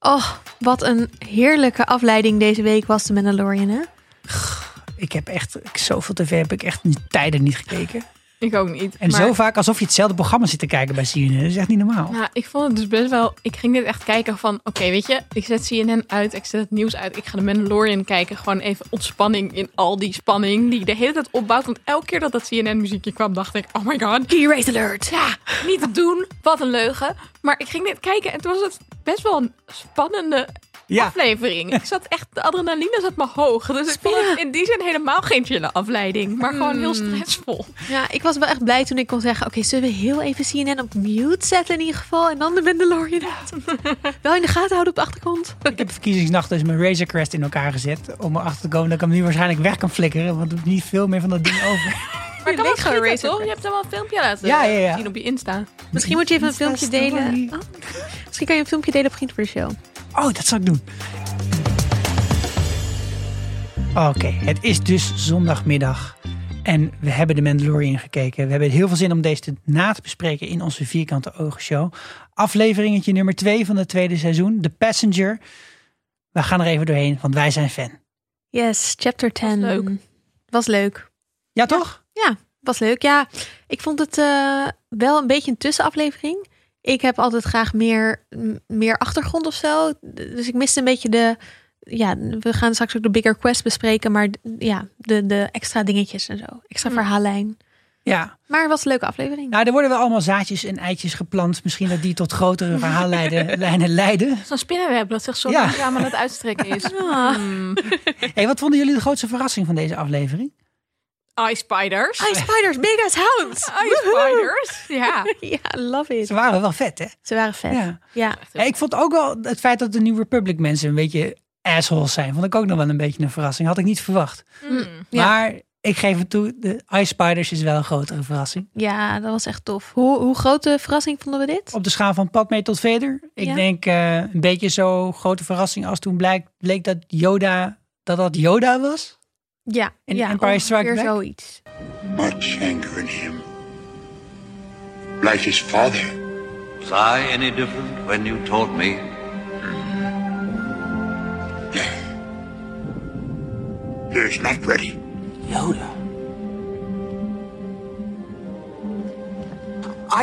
Oh, wat een heerlijke afleiding deze week was de Mandalorian, hè? Ik heb echt, ik, zoveel tv heb ik echt niet, tijden niet gekeken. Ik ook niet. En zo vaak alsof je hetzelfde programma zit te kijken bij CNN. Dat is echt niet normaal. Nou, ik vond het dus best wel... Ik ging dit echt kijken van... Oké, weet je, ik zet CNN uit, ik zet het nieuws uit. Ik ga de Mandalorian kijken. Gewoon even ontspanning in al die spanning die de hele tijd opbouwt. Want elke keer dat dat CNN-muziekje kwam, dacht ik... Oh my god, key rate alert. Ja, niet te doen. Wat een leugen. Maar ik ging dit kijken en toen was het best wel een spannende Ja. aflevering. Ik zat echt... De adrenaline zat me hoog. Dus ik vond het in die zin helemaal geen chille afleiding. Maar gewoon heel Hmm. stressvol. Ja, ik was wel echt blij toen ik kon zeggen... oké, zullen we heel even CNN op mute zetten in ieder geval... en dan de Mandalorian uit. wel in de gaten houden op de achtergrond. Ik heb verkiezingsnacht dus mijn Razor Crest in elkaar gezet. Om erachter te komen dat ik hem nu waarschijnlijk weg kan flikkeren. Want er is niet veel meer van dat ding over. Maar Je dat leek was gewoon Greta, Razor toch? Je hebt hem wel een filmpje laten Ja, ja, ja. zien op je Insta. Misschien moet je even een Insta filmpje delen. story. Oh, misschien kan je een filmpje delen op Vriend voor de Show. Oh, dat zal ik doen. Oké, het is dus zondagmiddag. En we hebben de Mandalorian gekeken. We hebben heel veel zin om deze te- na te bespreken in onze Vierkante Ogen Show. Afleveringetje nummer 2 van het tweede seizoen, The Passenger. We gaan er even doorheen, want wij zijn fan. Yes, chapter 10. leuk. Was leuk. Ja, toch? Ja, was leuk. Ja, ik vond het eh, wel een beetje een tussenaflevering. Ik heb altijd graag meer, m- meer achtergrond of zo. Dus ik miste een beetje de... Ja, we gaan straks ook de Bigger Quest bespreken. Maar d- ja, de, de extra dingetjes en zo. Extra Hm. Mm. verhaallijn. Ja. Maar het was een leuke aflevering. Nou, er worden wel allemaal zaadjes en eitjes geplant. Misschien dat die tot grotere verhaallijnen lijnen leiden. Zo'n spinnenweb dat zich zo Ja. langzaam aan het uitstrekken is. Ah. Hmm. hey, wat vonden jullie de grootste verrassing van deze aflevering? Eye spiders. Hi, spiders, big as hounds. Eye spiders. Ja. Oh, ja, love it. Ze waren wel vet, hè? Ze waren vet. Ja. Ja. Ja, ik vond ook wel het feit dat de New Republic mensen een beetje assholes zijn, vond ik ook nog wel een beetje een verrassing. Had ik niet verwacht. Hmm. Ja. Maar ik geef het toe, de Ice Spiders is wel een grotere verrassing. ja, dat was echt tof. Hoe, hoe grote verrassing vonden we dit? Op de schaal van Padme tot Vader, ik Ja. denk eh, een beetje zo grote verrassing als toen blijk, bleek dat Yoda, dat dat Yoda was. Ja, In ja Empire Strikes ongeveer Back? zoiets. much anger in him. Like his father. Was I any different when you told me He is not ready.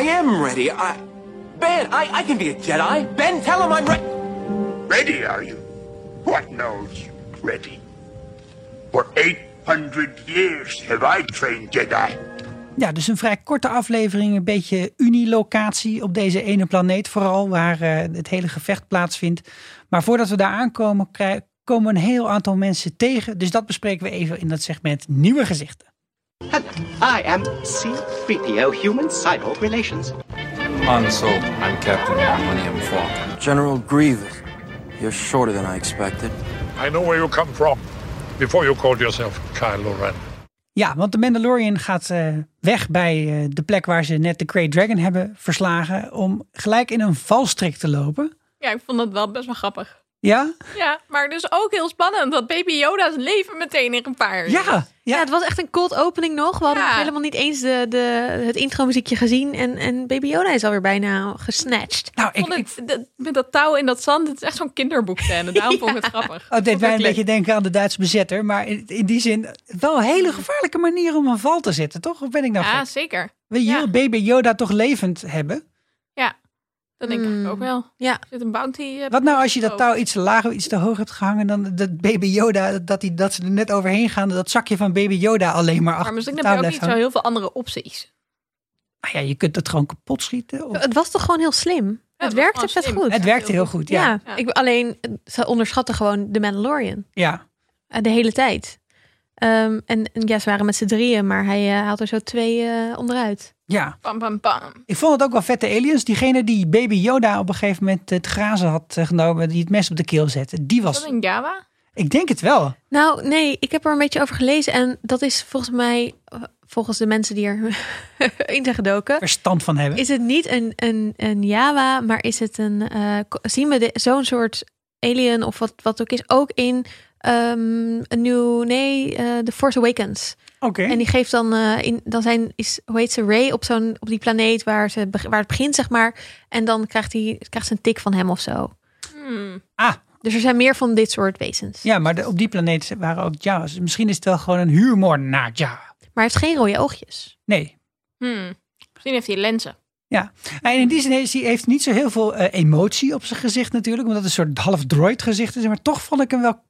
I am ready. I. Ben, I, I can be a Jedi. Ben, tell him I'm ready. Ready, are you? What knows you ready? For 800 years have I trained Jedi. Ja, dus een vrij korte aflevering, een beetje unilocatie op deze ene planeet vooral, waar eh, het hele gevecht plaatsvindt. Maar voordat we daar aankomen, krij- komen we een heel aantal mensen tegen. Dus dat bespreken we even in dat segment Nieuwe Gezichten. Hello, I am C3PO Human Cyborg Relations. Han Solo. I'm Captain Millennium Falcon. General Grievous, you're shorter than I expected. I know where you come from before you called yourself Kylo Ren. Ja, want de Mandalorian gaat eh, weg bij eh, de plek waar ze net de Great Dragon hebben verslagen. Om gelijk in een valstrik te lopen. ja, ik vond dat wel best wel grappig. Ja? Ja, maar dus ook heel spannend dat baby Yoda zijn leven meteen in gevaar is. Ja. Ja, ja. het was echt een cold opening nog. We hadden Ja. nog helemaal niet eens de, de, het intro-muziekje gezien. En, en Baby Yoda is alweer bijna gesnatcht. Nou, Ik ik, vond ik, het, dat- met dat touw in dat zand, het is echt zo'n kinderboekscène. Daarom vond ik het grappig. Oh, het deed mij een Werkelijk. beetje denken aan de Duitse bezetter. Maar in, in die zin wel een hele gevaarlijke manier om een val te zetten, toch? Of ben ik nou Ja, gek? zeker. Wil je ja. heel baby Yoda toch levend hebben? Ja, dat denk ik Hmm. eigenlijk ook wel. Ja. Er zit een bounty... eh, Wat nou als je dat ook. touw iets te laag of iets te hoog hebt gehangen... dan dat baby Yoda, dat, die, dat ze er net overheen gaan... dat zakje van baby Yoda alleen maar Maar achter misschien het heb touw je ook blijft niet zo hangen. heel veel andere opties. Nou ja, je kunt het gewoon kapot schieten. of- Het was toch gewoon heel slim? het was werkte gewoon vet slim. goed. Het werkte heel goed, ja. ja. Ja. Ik, alleen ze onderschatten gewoon de Mandalorian. Ja, Eh, de hele tijd. Ehm, en, en ja, ze waren met z'n drieën, maar hij eh, haalt er zo twee eh, onderuit. ja. Pam, pam, pam. Ik vond het ook wel vette aliens. Diegene die baby Yoda op een gegeven moment het grazen had eh, genomen, die het mes op de keel zette, die Is was... dat een Java? Ik denk het wel. Nou, nee, ik heb er een beetje over gelezen. En dat is volgens mij, eh, volgens de mensen die er in zijn gedoken, Verstand van hebben. Is het niet een, een, een Java, maar is het een. eh, ko- zien we de- zo'n soort alien of wat, wat ook is, ook in ehm een nieuw. Nee, eh, The Force Awakens. Oké. En die geeft dan. eh, in, dan zijn, is, hoe heet ze? Ray op, zo'n, op die planeet waar, ze, beg- waar het begint, zeg maar. En dan krijgt, hij krijgt ze een tik van hem of zo. Ah, Dus er zijn meer van dit soort wezens. ja, maar de- op die planeet waren ook Jawas. Misschien is het wel gewoon een huurmoordenaar Jawa. Maar hij heeft geen rode oogjes. Nee. Hmm. Misschien heeft hij lenzen. Ja, en in die zin heeft hij heeft niet zo heel veel eh, emotie op zijn gezicht natuurlijk. Omdat het een soort half droid gezicht is. Maar toch vond ik hem wel,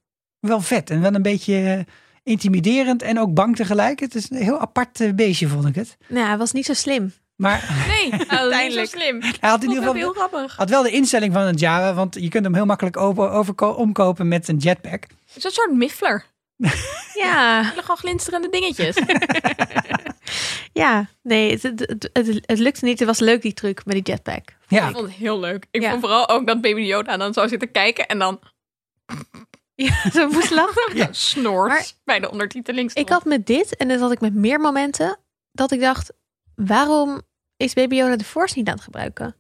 wel vet. En wel een beetje eh, intimiderend en ook bang tegelijk. Het is een heel apart eh, beestje, vond ik het. Nou, hij was niet zo slim. Maar Nee, nou, uiteindelijk. slim. hij had in Vond ik ieder geval... ook heel grappig. Had wel de instelling van een Java, want je kunt hem heel makkelijk over, overko- omkopen met een jetpack. Het is een soort miffler. Ja, Hele gewoon glinsterende dingetjes. ja. nee, het, het, het, het, het lukte niet. Het was leuk die truc met die jetpack. Ja, Ik vond het heel leuk. Ik Ja. vond vooral ook dat Baby Yoda dan zou zitten kijken en dan Ja, zo moest lachen. Ja. snort Maar- bij de ondertiteling. stond. Ik had met dit, en dat had ik met meer momenten, dat ik dacht, waarom is Baby Yoda de Force niet aan het gebruiken?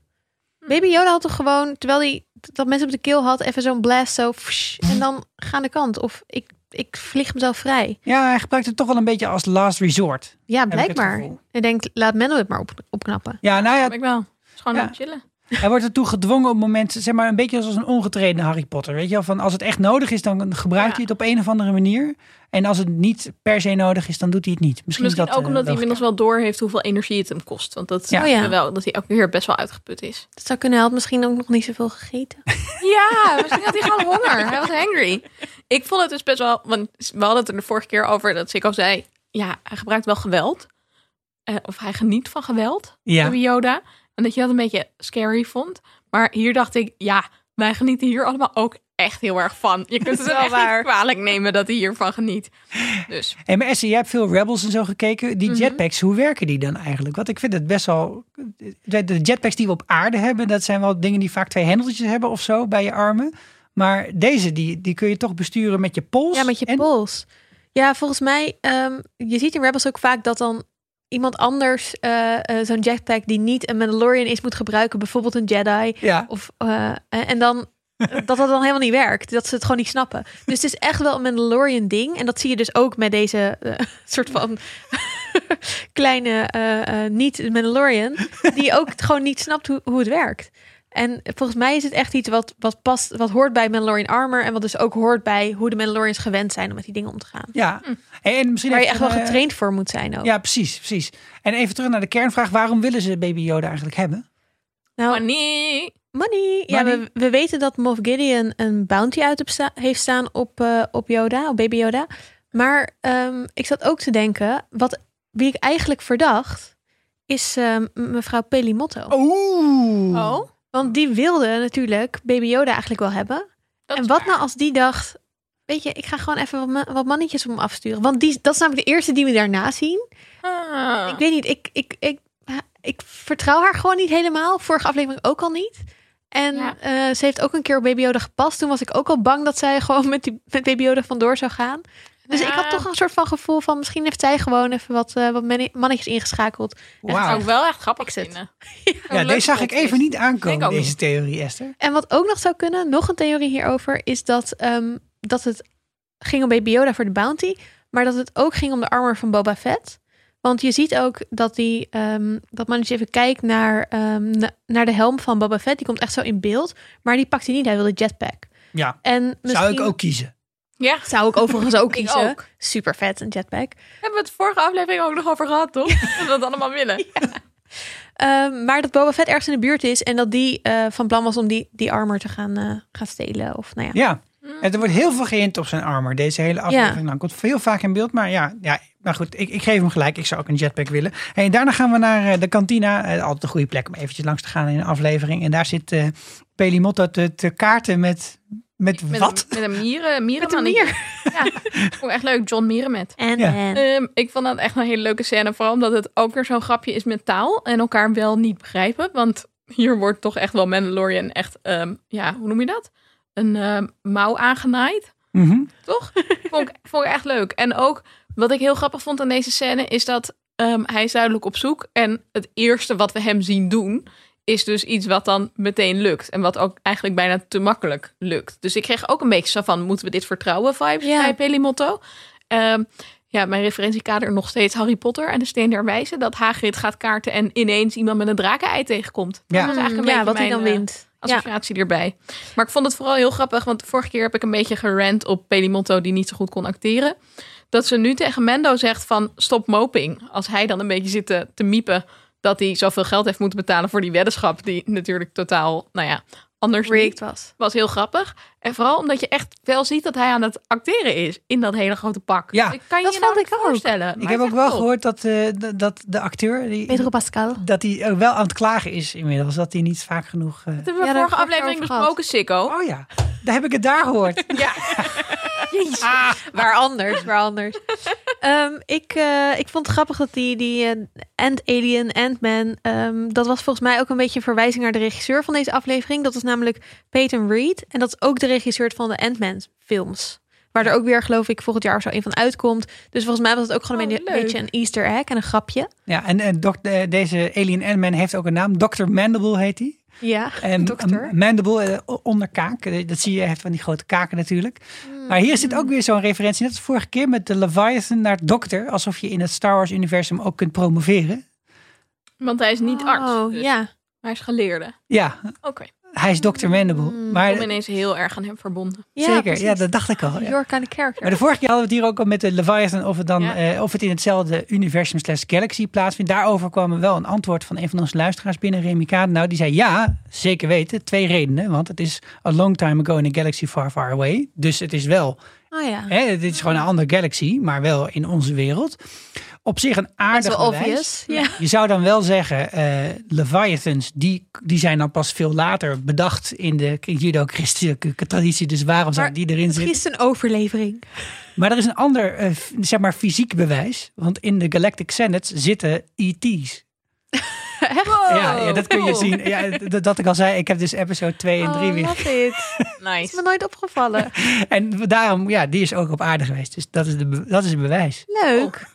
Baby Yoda had toch gewoon, terwijl hij dat mensen op de keel had, even zo'n blast zo, fsh, en dan ga aan de kant. Of ik, ik vlieg mezelf vrij. ja, hij gebruikt het toch wel een beetje als last resort. Ja, ik het blijkbaar. gevoel. Ik denk, laat Menno het maar op, opknappen. Ja, nou ja, ik wel. Het is gewoon Ja. aan het chillen. Hij wordt ertoe gedwongen op moment, zeg maar, een beetje als een ongetreden Harry Potter. Weet je wel, van als het echt nodig is, dan gebruikt Ja. hij het op een of andere manier. En als het niet per se nodig is, dan doet hij het niet. Misschien, Misschien, is dat, ook eh, omdat hij logica. inmiddels wel door heeft hoeveel energie het hem kost. Want dat Ja. ja. Oh ja. wel, dat hij elke keer best wel uitgeput is. Dat zou kunnen, hij had misschien ook nog niet zoveel gegeten. Ja, misschien had hij gewoon honger. Hij was hangry. Ik vond het dus best wel, want we hadden het er de vorige keer over dat Sikko zei, ja, hij gebruikt wel geweld. Eh, of hij geniet van geweld, Ja. Baby Yoda. En dat je dat een beetje scary vond. Maar hier dacht ik, ja, wij genieten hier allemaal ook echt heel erg van. Je kunt het hem wel echt waar. Oh. niet kwalijk nemen dat hij hiervan geniet. Dus Hey, maar Esther, jij hebt veel Rebels en zo gekeken. Mhm. Die jetpacks, hoe werken die dan eigenlijk? Want ik vind het best wel... De de jetpacks die we op aarde hebben, dat zijn wel dingen die vaak twee hendeltjes hebben of zo bij je armen. Maar deze, die, die kun je toch besturen met je pols. Ja, met je en- pols. Ja, volgens mij, ehm, je ziet in Rebels ook vaak dat dan iemand anders eh, eh, zo'n jetpack die niet een Mandalorian is moet gebruiken, bijvoorbeeld een Jedi. Ja, Of, eh, en en dan dat dat dan helemaal niet werkt. Dat ze het gewoon niet snappen. Dus het is echt wel een Mandalorian ding. En dat zie je dus ook met deze eh, soort van kleine eh, eh, niet-Mandalorian. Die ook het gewoon niet snapt hoe, hoe het werkt. En volgens mij is het echt iets wat, wat past, wat hoort bij Mandalorian Armor. En wat dus ook hoort bij hoe de Mandalorians gewend zijn om met die dingen om te gaan. ja. Hey, en misschien Hm. Waar je even echt wel een, eh, getraind voor moet zijn ook. Ja, precies, precies. En even terug naar de kernvraag. Waarom willen ze Baby Yoda eigenlijk hebben? maar Nou, nee. money. Ja, Money. we, we weten dat Moff Gideon een bounty uit op sta- heeft staan op, eh, op Yoda, op baby Yoda. Maar ehm, ik zat ook te denken, wat, wie ik eigenlijk verdacht, is ehm, m- mevrouw Pelimotto. Oeh. Oh, Want die wilde natuurlijk baby Yoda eigenlijk wel hebben. dat en is wat waar. nou als die dacht, weet je, ik ga gewoon even wat, ma- wat mannetjes op hem afsturen. Want die, dat is namelijk de eerste die we daarna zien. Ah. Ik weet niet, ik, ik, ik, ik vertrouw haar gewoon niet helemaal. Vorige aflevering ook al niet. En Ja. eh, ze heeft ook een keer op Baby Yoda gepast. Toen was ik ook al bang dat zij gewoon met, die, met Baby Yoda vandoor zou gaan. Dus Ja. ik had toch een soort van gevoel van... misschien heeft zij gewoon even wat, eh, wat manne- mannetjes ingeschakeld. Dat zou Wauw. ik wel echt grappig Ik zit. vinden. Ja, deze zag ik even niet Ik aankomen, ook deze niet. theorie, Esther. En wat ook nog zou kunnen, nog een theorie hierover... is dat, ehm, dat het ging om Baby Yoda voor de bounty... maar dat het ook ging om de armor van Boba Fett... Want je ziet ook dat die, ehm, dat mannetje even kijkt naar, ehm, na- naar de helm van Boba Fett. Die komt echt zo in beeld. Maar die pakt hij niet. Hij wil de jetpack. Ja. En misschien... Zou ik ook kiezen. Ja, Zou ik overigens ook kiezen. ook. Super vet, een jetpack. hebben we het vorige aflevering ook nog over gehad, toch? Dat we dat allemaal willen. Ehm, maar dat Boba Fett ergens in de buurt is en dat die eh, van plan was om die, die armor te gaan, eh, gaan stelen. Of nou ja. Ja. Mm. En er wordt heel veel geïnt op zijn armor. Deze hele aflevering lang. Komt veel vaak in beeld. Maar ja, ja maar goed, ik, ik geef hem gelijk. Ik zou ook een jetpack willen. En daarna gaan we naar eh, de kantina. Eh, altijd een goede plek om eventjes langs te gaan in een aflevering. En daar zit eh Pelimotto te, te kaarten met, met, Met wat? Een, met een mieren, Met een mierenman. mier. Ja, ik vond echt leuk. John Mierenmet. En, Ja. en. Ehm, ik vond dat echt een hele leuke scène. Vooral omdat het ook weer zo'n grapje is met taal. En elkaar wel niet begrijpen. Want hier wordt toch echt wel Mandalorian echt... ehm, ja, hoe noem je dat? Een ehm, mouw aangenaaid. Mhm. Toch? vond, ik, vond ik echt leuk. En ook wat ik heel grappig vond aan deze scène is dat ehm, hij is duidelijk op zoek. En het eerste wat we hem zien doen is dus iets wat dan meteen lukt. En wat ook eigenlijk bijna te makkelijk lukt. Dus ik kreeg ook een beetje zo van, moeten we dit vertrouwen vibes Ja. bij Pelimotto. Ehm, ja, mijn referentiekader nog steeds Harry Potter en de Steen der Wijzen. Dat Hagrid gaat kaarten en ineens iemand met een drakenei tegenkomt. Ja. Dat is eigenlijk een Hmm, ja, beetje wat hij mijn, dan eh, wint. associatie erbij. Maar ik vond het vooral heel grappig, want de vorige keer heb ik een beetje gerant op Pelimotto die niet zo goed kon acteren. Dat ze nu tegen Mendo zegt van stop moping. Als hij dan een beetje zit te, te miepen dat hij zoveel geld heeft moeten betalen voor die weddenschap. Die natuurlijk totaal, nou ja, anders rigged was. was heel grappig. En vooral omdat je echt wel ziet dat hij aan het acteren is in dat hele grote pak. Ja. ik kan Dat je nou vond niet ik ook. voorstellen. Ik maar heb het ook is wel top. gehoord dat, eh, d- dat de acteur... Die, Pedro Pascal. dat hij ook wel aan het klagen is inmiddels. Dat hij niet vaak genoeg... eh, Dat hebben we Ja, daar vorige heb ik het aflevering over gehad. besproken, Sikko. Oh ja, daar heb ik het daar gehoord. Ja. Waar anders, waar anders. Ehm, ik, eh, ik vond het grappig dat die, die eh, Ant Alien, Ant-Man, ehm, dat was volgens mij ook een beetje een verwijzing naar de regisseur van deze aflevering. Dat was namelijk Peyton Reed. En dat is ook de regisseur van de Ant-Man films. Waar er ook weer, geloof ik, volgend jaar of zo een van uitkomt. Dus volgens mij was het ook gewoon Oh, een beetje- leuk. beetje een easter egg en een grapje. Ja, en eh, dok- eh, deze Alien Ant-Man heeft ook een naam. Dr. Mandible heet hij. Ja, En dokter. een Mandible eh, o- onder kaak. Eh, Dat zie je, hij heeft van die grote kaken natuurlijk. Hmm. Maar hier zit ook weer zo'n referentie. Net als vorige keer met de Leviathan naar dokter. Alsof je in het Star Wars universum ook kunt promoveren. Want hij is niet Oh, arts. dus ja. Hij is geleerde. Ja, Oké. hij is Dr. Mandible. Ik Hmm, Maar kom ineens heel erg aan hem verbonden. ja. zeker, precies. ja, dat dacht ik al. ja. Your kind of character. Maar de vorige keer hadden we het hier ook al met de Leviathan of het, dan, Ja. eh, of het in hetzelfde universum slash galaxy plaatsvindt. Daarover kwam er wel een antwoord van een van onze luisteraars binnen, Remy Nou, die zei ja, zeker weten. Twee redenen, want het is a long time ago in a galaxy far far away. Dus het is wel, Oh ja. hè, het is gewoon een andere galaxy, maar wel in onze wereld. Op zich een Dat aardig is wel bewijs. obvious. Ja. Je zou dan wel zeggen, eh, Leviathans, die, die zijn dan pas veel later bedacht in de judo-christelijke traditie. Dus waarom zou Maar die erin Het zitten? is een overlevering. Maar er is een ander, eh, f- zeg maar, fysiek bewijs. Want in de Galactic Senate zitten ET's. Echt? Ja, ja, dat kun je cool. zien. Ja, d- dat ik al zei, ik heb dus episode 2 en 3 Oh, weer. Oh. love it. Het is me Nice. nooit opgevallen. En daarom, ja, die is ook op aarde geweest. Dus dat is, de, be- dat is het bewijs. Leuk.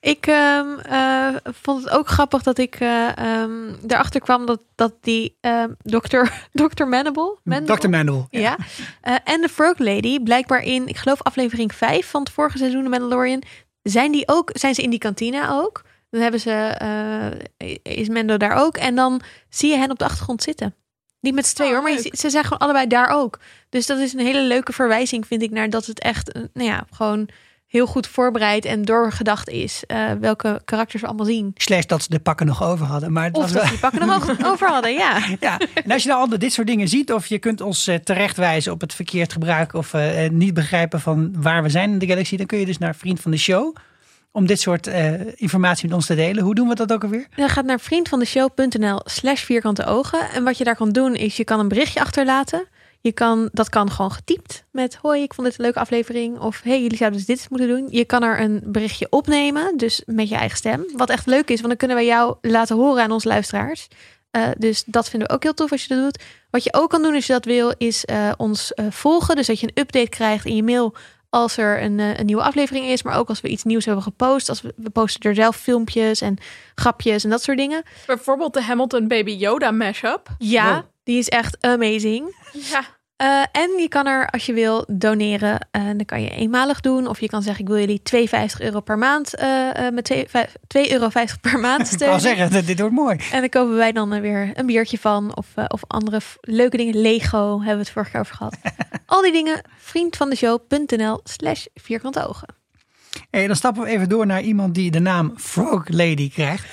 Ik ehm, eh, vond het ook grappig dat ik eh ehm erachter kwam dat, dat die ehm dokter, dokter Manable, Mandible? Dr. Mandible. ja. eh, en de Frog Lady, blijkbaar in, ik geloof aflevering 5 van het vorige seizoen de Mandalorian, zijn, die ook, zijn ze in die kantina ook. Dan hebben ze, eh, is Mendo daar ook. En dan zie je hen op de achtergrond zitten. Niet met z'n tweeën Oh, hoor, maar je leuk. ziet- ze zijn gewoon allebei daar ook. Dus dat is een hele leuke verwijzing, vind ik, naar dat het echt, eh, nou ja, gewoon heel goed voorbereid en doorgedacht is. eh, welke karakters we allemaal zien. Slash dat ze de pakken nog over hadden. Maar het Of was dat wel- ze die pakken nog over- over hadden, ja. Ja, en als je nou altijd dit soort dingen ziet, of je kunt ons eh, terechtwijzen op het verkeerd gebruik of eh, eh, niet begrijpen van waar we zijn in de galaxy, dan kun je dus naar vriend van de show om dit soort eh, informatie met ons te delen. Hoe doen we dat ook alweer? Dan gaat naar vriendvandeshow.nl slash vierkante ogen. En wat je daar kan doen is, je kan een berichtje achterlaten. Je kan, dat kan gewoon getypt met hoi, ik vond dit een leuke aflevering. Of hey, jullie zouden dus dit eens moeten doen. Je kan er een berichtje opnemen, dus met je eigen stem. Wat echt leuk is, want dan kunnen wij jou laten horen aan onze luisteraars. Eh, dus dat vinden we ook heel tof als je dat doet. Wat je ook kan doen als je dat wil, is eh, ons eh, volgen. Dus dat je een update krijgt in je mail als er een, eh, een nieuwe aflevering is. Maar ook als we iets nieuws hebben gepost. Als we, we posten er zelf filmpjes en grapjes en dat soort dingen. Bijvoorbeeld de Hamilton Baby Yoda mashup. Ja, die is echt amazing. Ja. Eh, en je kan er, als je wil, doneren. En dan kan je eenmalig doen. Of je kan zeggen, ik wil jullie 2,50 euro per maand. eh, eh, met twee- vijf- 2,50 euro per maand Ik kan steunen. al zeggen, dit- dit wordt mooi. En daar kopen wij dan eh, weer een biertje van. Of, eh, of andere f- leuke dingen. Lego hebben we het vorige keer over gehad. Al die dingen, vriendvandeshow.nl slash vierkante ogen. Hey, dan stappen we even door naar iemand die de naam Frog Lady krijgt.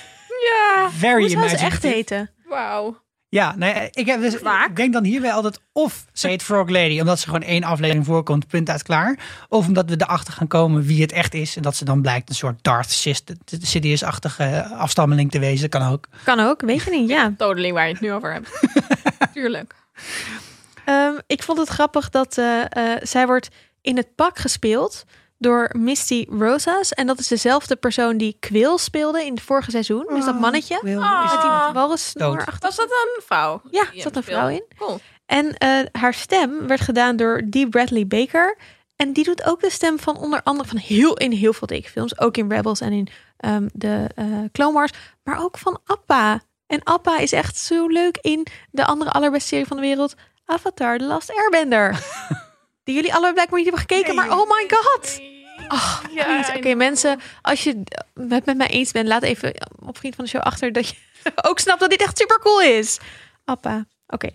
Ja. Very Hoe zou ze imaginative. echt heten? Wauw. Ja, nee, ik, heb dus, ik denk dan hierbij altijd of ze heet Frog Lady, omdat ze gewoon één aflevering voorkomt, punt uit klaar. Of omdat we erachter gaan komen wie het echt is en dat ze dan blijkt een soort Darth Sist- Sidious-achtige afstammeling te wezen. Kan ook. Kan ook, weet je niet, ja. Totally waar je het nu over hebt. Tuurlijk. Ehm, ik vond het grappig dat eh, eh, zij wordt in het pak gespeeld door Misty Rosas. En dat is dezelfde persoon die Quill speelde in het vorige seizoen. Dus dat mannetje. Wil- Ah. Met is het- die Ah. walrussnoer Dood. achter. Was dat een vrouw? Ja, die zat een hem vrouw speelde? Cool. En eh, haar stem werd gedaan door Dee Bradley Baker. En die doet ook de stem van onder andere van heel in heel veel tekenfilms. Ook in Rebels en in ehm, de eh Clone Wars. Maar ook van Appa. En Appa is echt zo leuk in de andere allerbeste serie van de wereld. Avatar The Last Airbender. Die jullie allebei blijkbaar niet hebben gekeken. Maar oh my god. Oh, please. Oké mensen, als je het met mij eh, eens bent. Laat even op Vriend van de Show achter dat je ook snapt dat dit echt super cool is. Appa. Oké.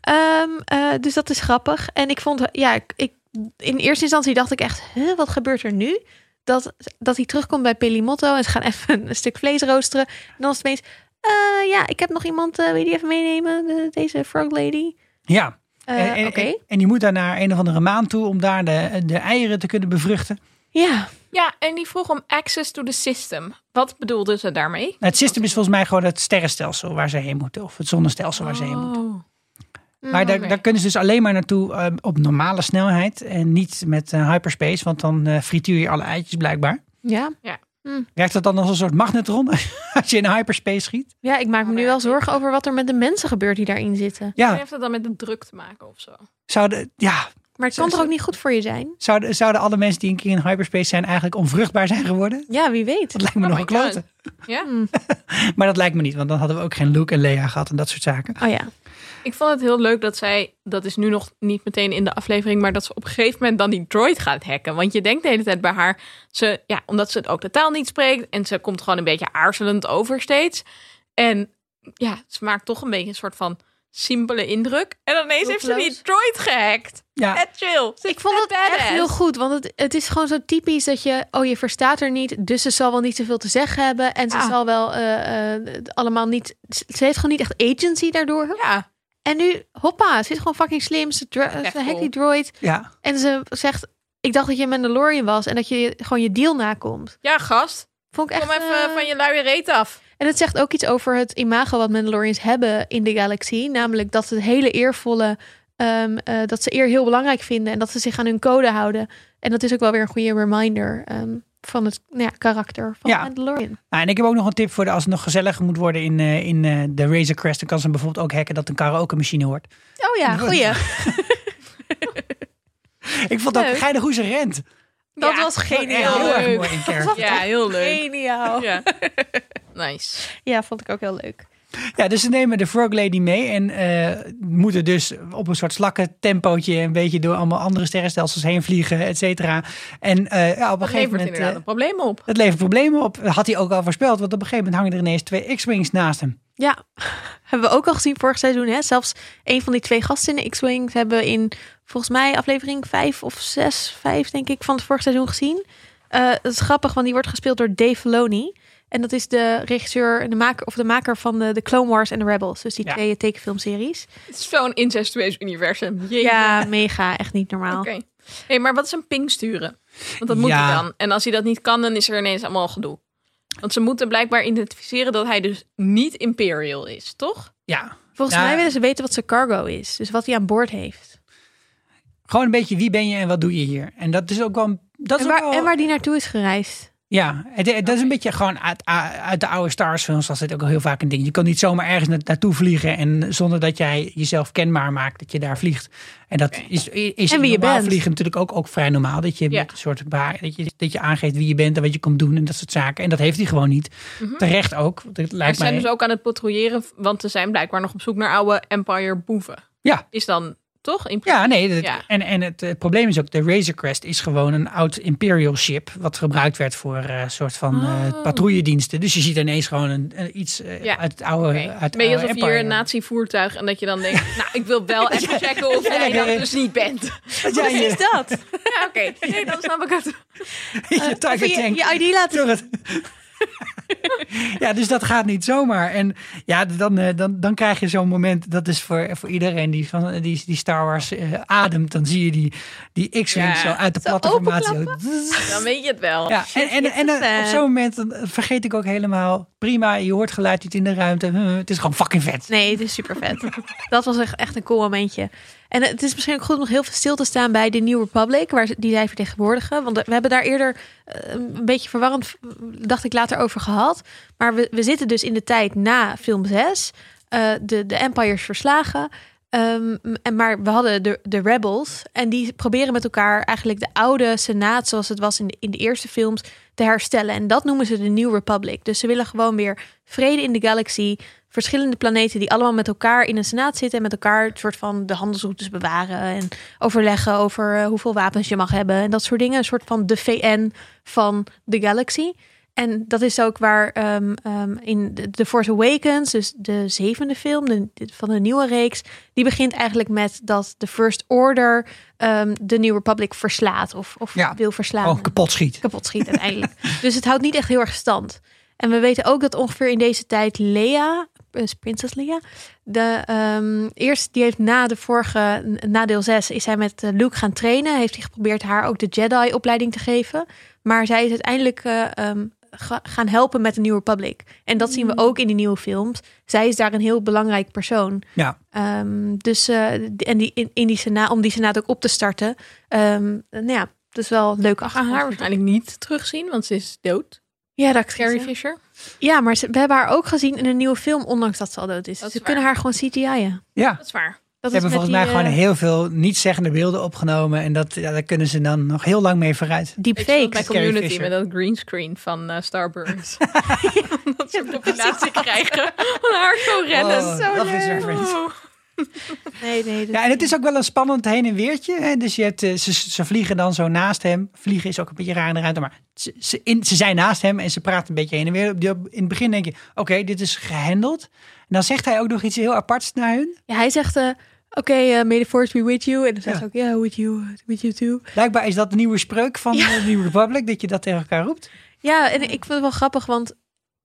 Ehm, eh, dus dat is grappig. En ik vond, ja, ik, ik- in eerste instantie dacht ik echt, huh, wat gebeurt er nu? Dat, dat hij terugkomt bij Pelimotto en ze gaan even een stuk vlees roosteren. En dan is het ineens, eh, ja, ik heb nog iemand, eh, wil je die even meenemen? De- deze frog lady. Ja. Eh, en, en- Oké. en, en die moet daar naar een of andere maan toe om daar de, de eieren te kunnen bevruchten. Ja, Ja, en die vroeg om access to the system. Wat bedoelden ze daarmee? Nou, het systeem is volgens mij gewoon het sterrenstelsel waar ze heen moeten. Of het zonnestelsel waar ze heen moeten. Oh. Maar daar, oké. daar kunnen ze dus alleen maar naartoe eh, op normale snelheid. En niet met eh, hyperspace, want dan eh, frituur je alle eitjes blijkbaar. ja. Werkt dat dan als een soort magnetron als je in hyperspace schiet? Oh Ja, ik maak me nu wel zorgen over wat er met de mensen gebeurt die daarin zitten. En Ja, heeft dat dan met de druk te maken of zo? zouden, ja Maar het kan toch ook niet goed voor je zijn? zouden, zouden alle mensen die een keer in hyperspace zijn eigenlijk onvruchtbaar zijn geworden? Ja, wie weet. Dat lijkt me Oh nog my een klote. Ja? Maar dat lijkt me niet, want dan hadden we ook geen Luke en Lea gehad en dat soort zaken. Oh ja. Ik vond het heel leuk dat zij, dat is nu nog niet meteen in de aflevering, maar dat ze op een gegeven moment dan die droid gaat hacken. Want je denkt de hele tijd bij haar, ze, ja, omdat ze het ook de taal niet spreekt en ze komt gewoon een beetje aarzelend over steeds. En ja, ze maakt toch een beetje een soort van simpele indruk. En dan ineens heeft ze Hulpeloos. die droid gehackt. Ja. En chill. Ze Ik vond is het echt badass. heel goed, want het, het is gewoon zo typisch dat je, oh je verstaat er niet, dus ze zal wel niet zoveel te zeggen hebben en ze Ja. zal wel eh, eh, het allemaal niet, ze ze heeft gewoon niet echt agency daardoor. Ja, En nu, hoppa, ze is gewoon fucking slim, ze, dro- Echt ze hackt cool. die droid Ja, en ze zegt, ik dacht dat je een Mandalorian was en dat je gewoon je deal nakomt. ja gast. Vond ik echt, Kom even eh, van je luie reet af. En het zegt ook iets over het imago wat Mandalorians hebben in de galaxie. Namelijk dat ze het hele eervolle, ehm, eh, dat ze eer heel belangrijk vinden en dat ze zich aan hun code houden. En dat is ook wel weer een goede reminder ehm, van het nou ja, karakter van Ja. Mandalorian. Nou, en ik heb ook nog een tip voor de, als het nog gezelliger moet worden in, eh, in eh, de Razor Crest. Dan kan ze bijvoorbeeld ook hacken dat een karaoke machine hoort. Oh ja, goeie. Ik vond ook Leuk. geinig hoe ze rent. Dat Ja, was geniaal. Heel erg Leuk. mooi in character. Ja, heel leuk. Geniaal. Ja. Nice. Ja, vond ik ook heel leuk. Ja, dus ze nemen de Frog Lady mee en eh, moeten dus op een soort slakken tempootje een beetje door allemaal andere sterrenstelsels heen vliegen, et cetera. En eh, ja, op een Dat gegeven levert moment. inderdaad eh, een probleem op. het levert problemen op. Dat had hij ook al voorspeld, want op een gegeven moment hangen er ineens twee X-Wings naast hem. Ja, hebben we ook al gezien vorig seizoen. Hè? Zelfs een van die twee gasten in de X-Wings hebben we in volgens mij aflevering 5 of 6, 5 denk ik, van het vorig seizoen gezien. Eh dat is grappig, want die wordt gespeeld door Dave Filoni. En dat is de regisseur, en de maker, of de maker van de, de Clone Wars en de Rebels. Dus die Ja. twee tekenfilmseries. Het is zo'n incestueus universum. Jeetje. Ja, mega. Echt niet normaal. Oké. Hey, maar wat is een ping sturen? Want dat moet Ja. hij dan. En als hij dat niet kan, dan is er ineens allemaal gedoe. Want ze moeten blijkbaar identificeren dat hij dus niet Imperial is, toch? Ja. Volgens Ja. mij willen ze weten wat zijn cargo is. Dus wat hij aan boord heeft. Gewoon een beetje wie ben je en wat doe je hier? En dat is ook wel. een- Dat En is ook waar, wel- en waar die naartoe is gereist. Ja, het, het- dat is een beetje gewoon uit, uit de oude Star Wars films was dit ook al heel vaak een ding. Je kan niet zomaar ergens na- naartoe vliegen en zonder dat jij jezelf kenbaar maakt dat je daar vliegt. En dat is, is En wie in je normaal bent. vliegen natuurlijk ook, ook vrij normaal. Dat je Ja. met een soort baar, dat je, dat je aangeeft wie je bent en wat je komt doen en dat soort zaken. En dat heeft hij gewoon niet. Terecht ook. want Het Ze lijkt zijn mij, dus ook aan het patrouilleren, want ze zijn blijkbaar nog op zoek naar oude Empire boeven. Ja. Is dan toch? In Ja, nee. dat- Ja. En, en het, eh, probleem is ook, de Razor Crest is gewoon een oud Imperial ship. Wat gebruikt werd voor een soort van eh, Oh. patrouillediensten. Dus je ziet ineens gewoon een, een iets eh, Ja. uit het oude, Oké. uit het Een beetje oude alsof je hier Empire. een nazi-voertuig en dat je dan denkt... nou, ik wil wel even checken of Ja, jij ja, ja. dat dus niet bent. Dat jij Precies je, dat. Ja, oké. Nee, dan snap ik het. je Even Tiger je, Tank je ID laten door het... Ja, dus dat gaat niet zomaar. En ja, dan, eh, dan, dan krijg je zo'n moment. Dat is voor, voor iedereen die, van, die, die Star Wars eh, ademt. Dan zie je die, die X-Wing Ja. zo uit de Zo platte formatie. Dan weet je het wel. Ja, en, en, Shit, en, eh, op eh. zo'n moment dan vergeet ik ook helemaal. Prima, je hoort geluid niet in de ruimte. Huh, Het is gewoon fucking vet. Nee, het is super vet. dat was echt, echt een cool momentje. En het is misschien ook goed om nog heel veel stil te staan bij de New Republic, waar ze- die zij vertegenwoordigen. Want we hebben daar eerder eh, een beetje verwarrend, v- dacht ik, later over gehad. Maar we, we zitten dus in de tijd na film 6. eh, de, de Empires verslagen. Ehm, en, maar we hadden de, de Rebels. En die proberen met elkaar eigenlijk de oude Senaat, zoals het was in de, in de eerste films, te herstellen. En dat noemen ze de New Republic. Dus ze willen gewoon weer vrede in de galaxie. Verschillende planeten die allemaal met elkaar in een Senaat zitten. En met elkaar het soort van de handelsroutes bewaren. En overleggen over eh, hoeveel wapens je mag hebben. En dat soort dingen. Een soort van de VN van de galaxie. En dat is ook waar ehm, ehm, in The- The Force Awakens, dus de zevende film de- van de nieuwe reeks, die begint eigenlijk met dat de First Order ehm, de New Republic verslaat of, of Ja. wil verslaan. Oh, kapot schiet. Kapot schiet uiteindelijk. dus het houdt niet echt heel erg stand. En we weten ook dat ongeveer in deze tijd Lea, dus prinses Lea, de, ehm, eerst die heeft na de vorige, na deel 6, is zij met eh, Luke gaan trainen. Heeft hij geprobeerd haar ook de Jedi-opleiding te geven. Maar zij is uiteindelijk eh, ehm, ga- gaan helpen met de New Republic. En dat zien we ook in die nieuwe films. Zij is daar een heel belangrijk persoon. Ja. Ehm, dus eh, d- en die, in, in die senaat, om die senaat ook op te starten. Ehm nou ja, dat is wel leuk We gaan achter haar waarschijnlijk niet terugzien, want ze is dood. Ja, dat Carrie Fisher. Ja, maar ze- we hebben haar ook gezien in een nieuwe film, ondanks dat ze al dood is. Dat is ze waar. kunnen haar gewoon CGI'en. Ja. Dat is waar. Dat Ze hebben is met volgens mij die, gewoon eh, heel veel nietszeggende beelden opgenomen. En dat, ja, daar kunnen ze dan nog heel lang mee vooruit. Ik zat deepfakes. bij Carrie Community Fisher. met dat greenscreen van eh, Starburns. dat ze compilatie krijgen. Van haar zo rennen. Oh, zo dat is leuk. reference. Oh. Nee, nee. dat- Ja, en het is ook wel een spannend heen en weertje. Hè? Dus je hebt, eh, ze, ze vliegen dan zo naast hem. Vliegen is ook een beetje raar in de ruimte, maar ze, ze, in, ze zijn naast hem en ze praten een beetje heen en weer. Op die- op- In het begin denk je, oké, dit is gehandeld. En dan zegt hij ook nog iets heel aparts naar hun. Ja, hij zegt, eh, oké, eh may the force be with you. En dan zegt Ja. ze ook, yeah, with you, with you too. Blijkbaar is dat de nieuwe spreuk van Ja. de New Republic, dat je dat tegen elkaar roept. Ja, en ik vond het wel grappig, want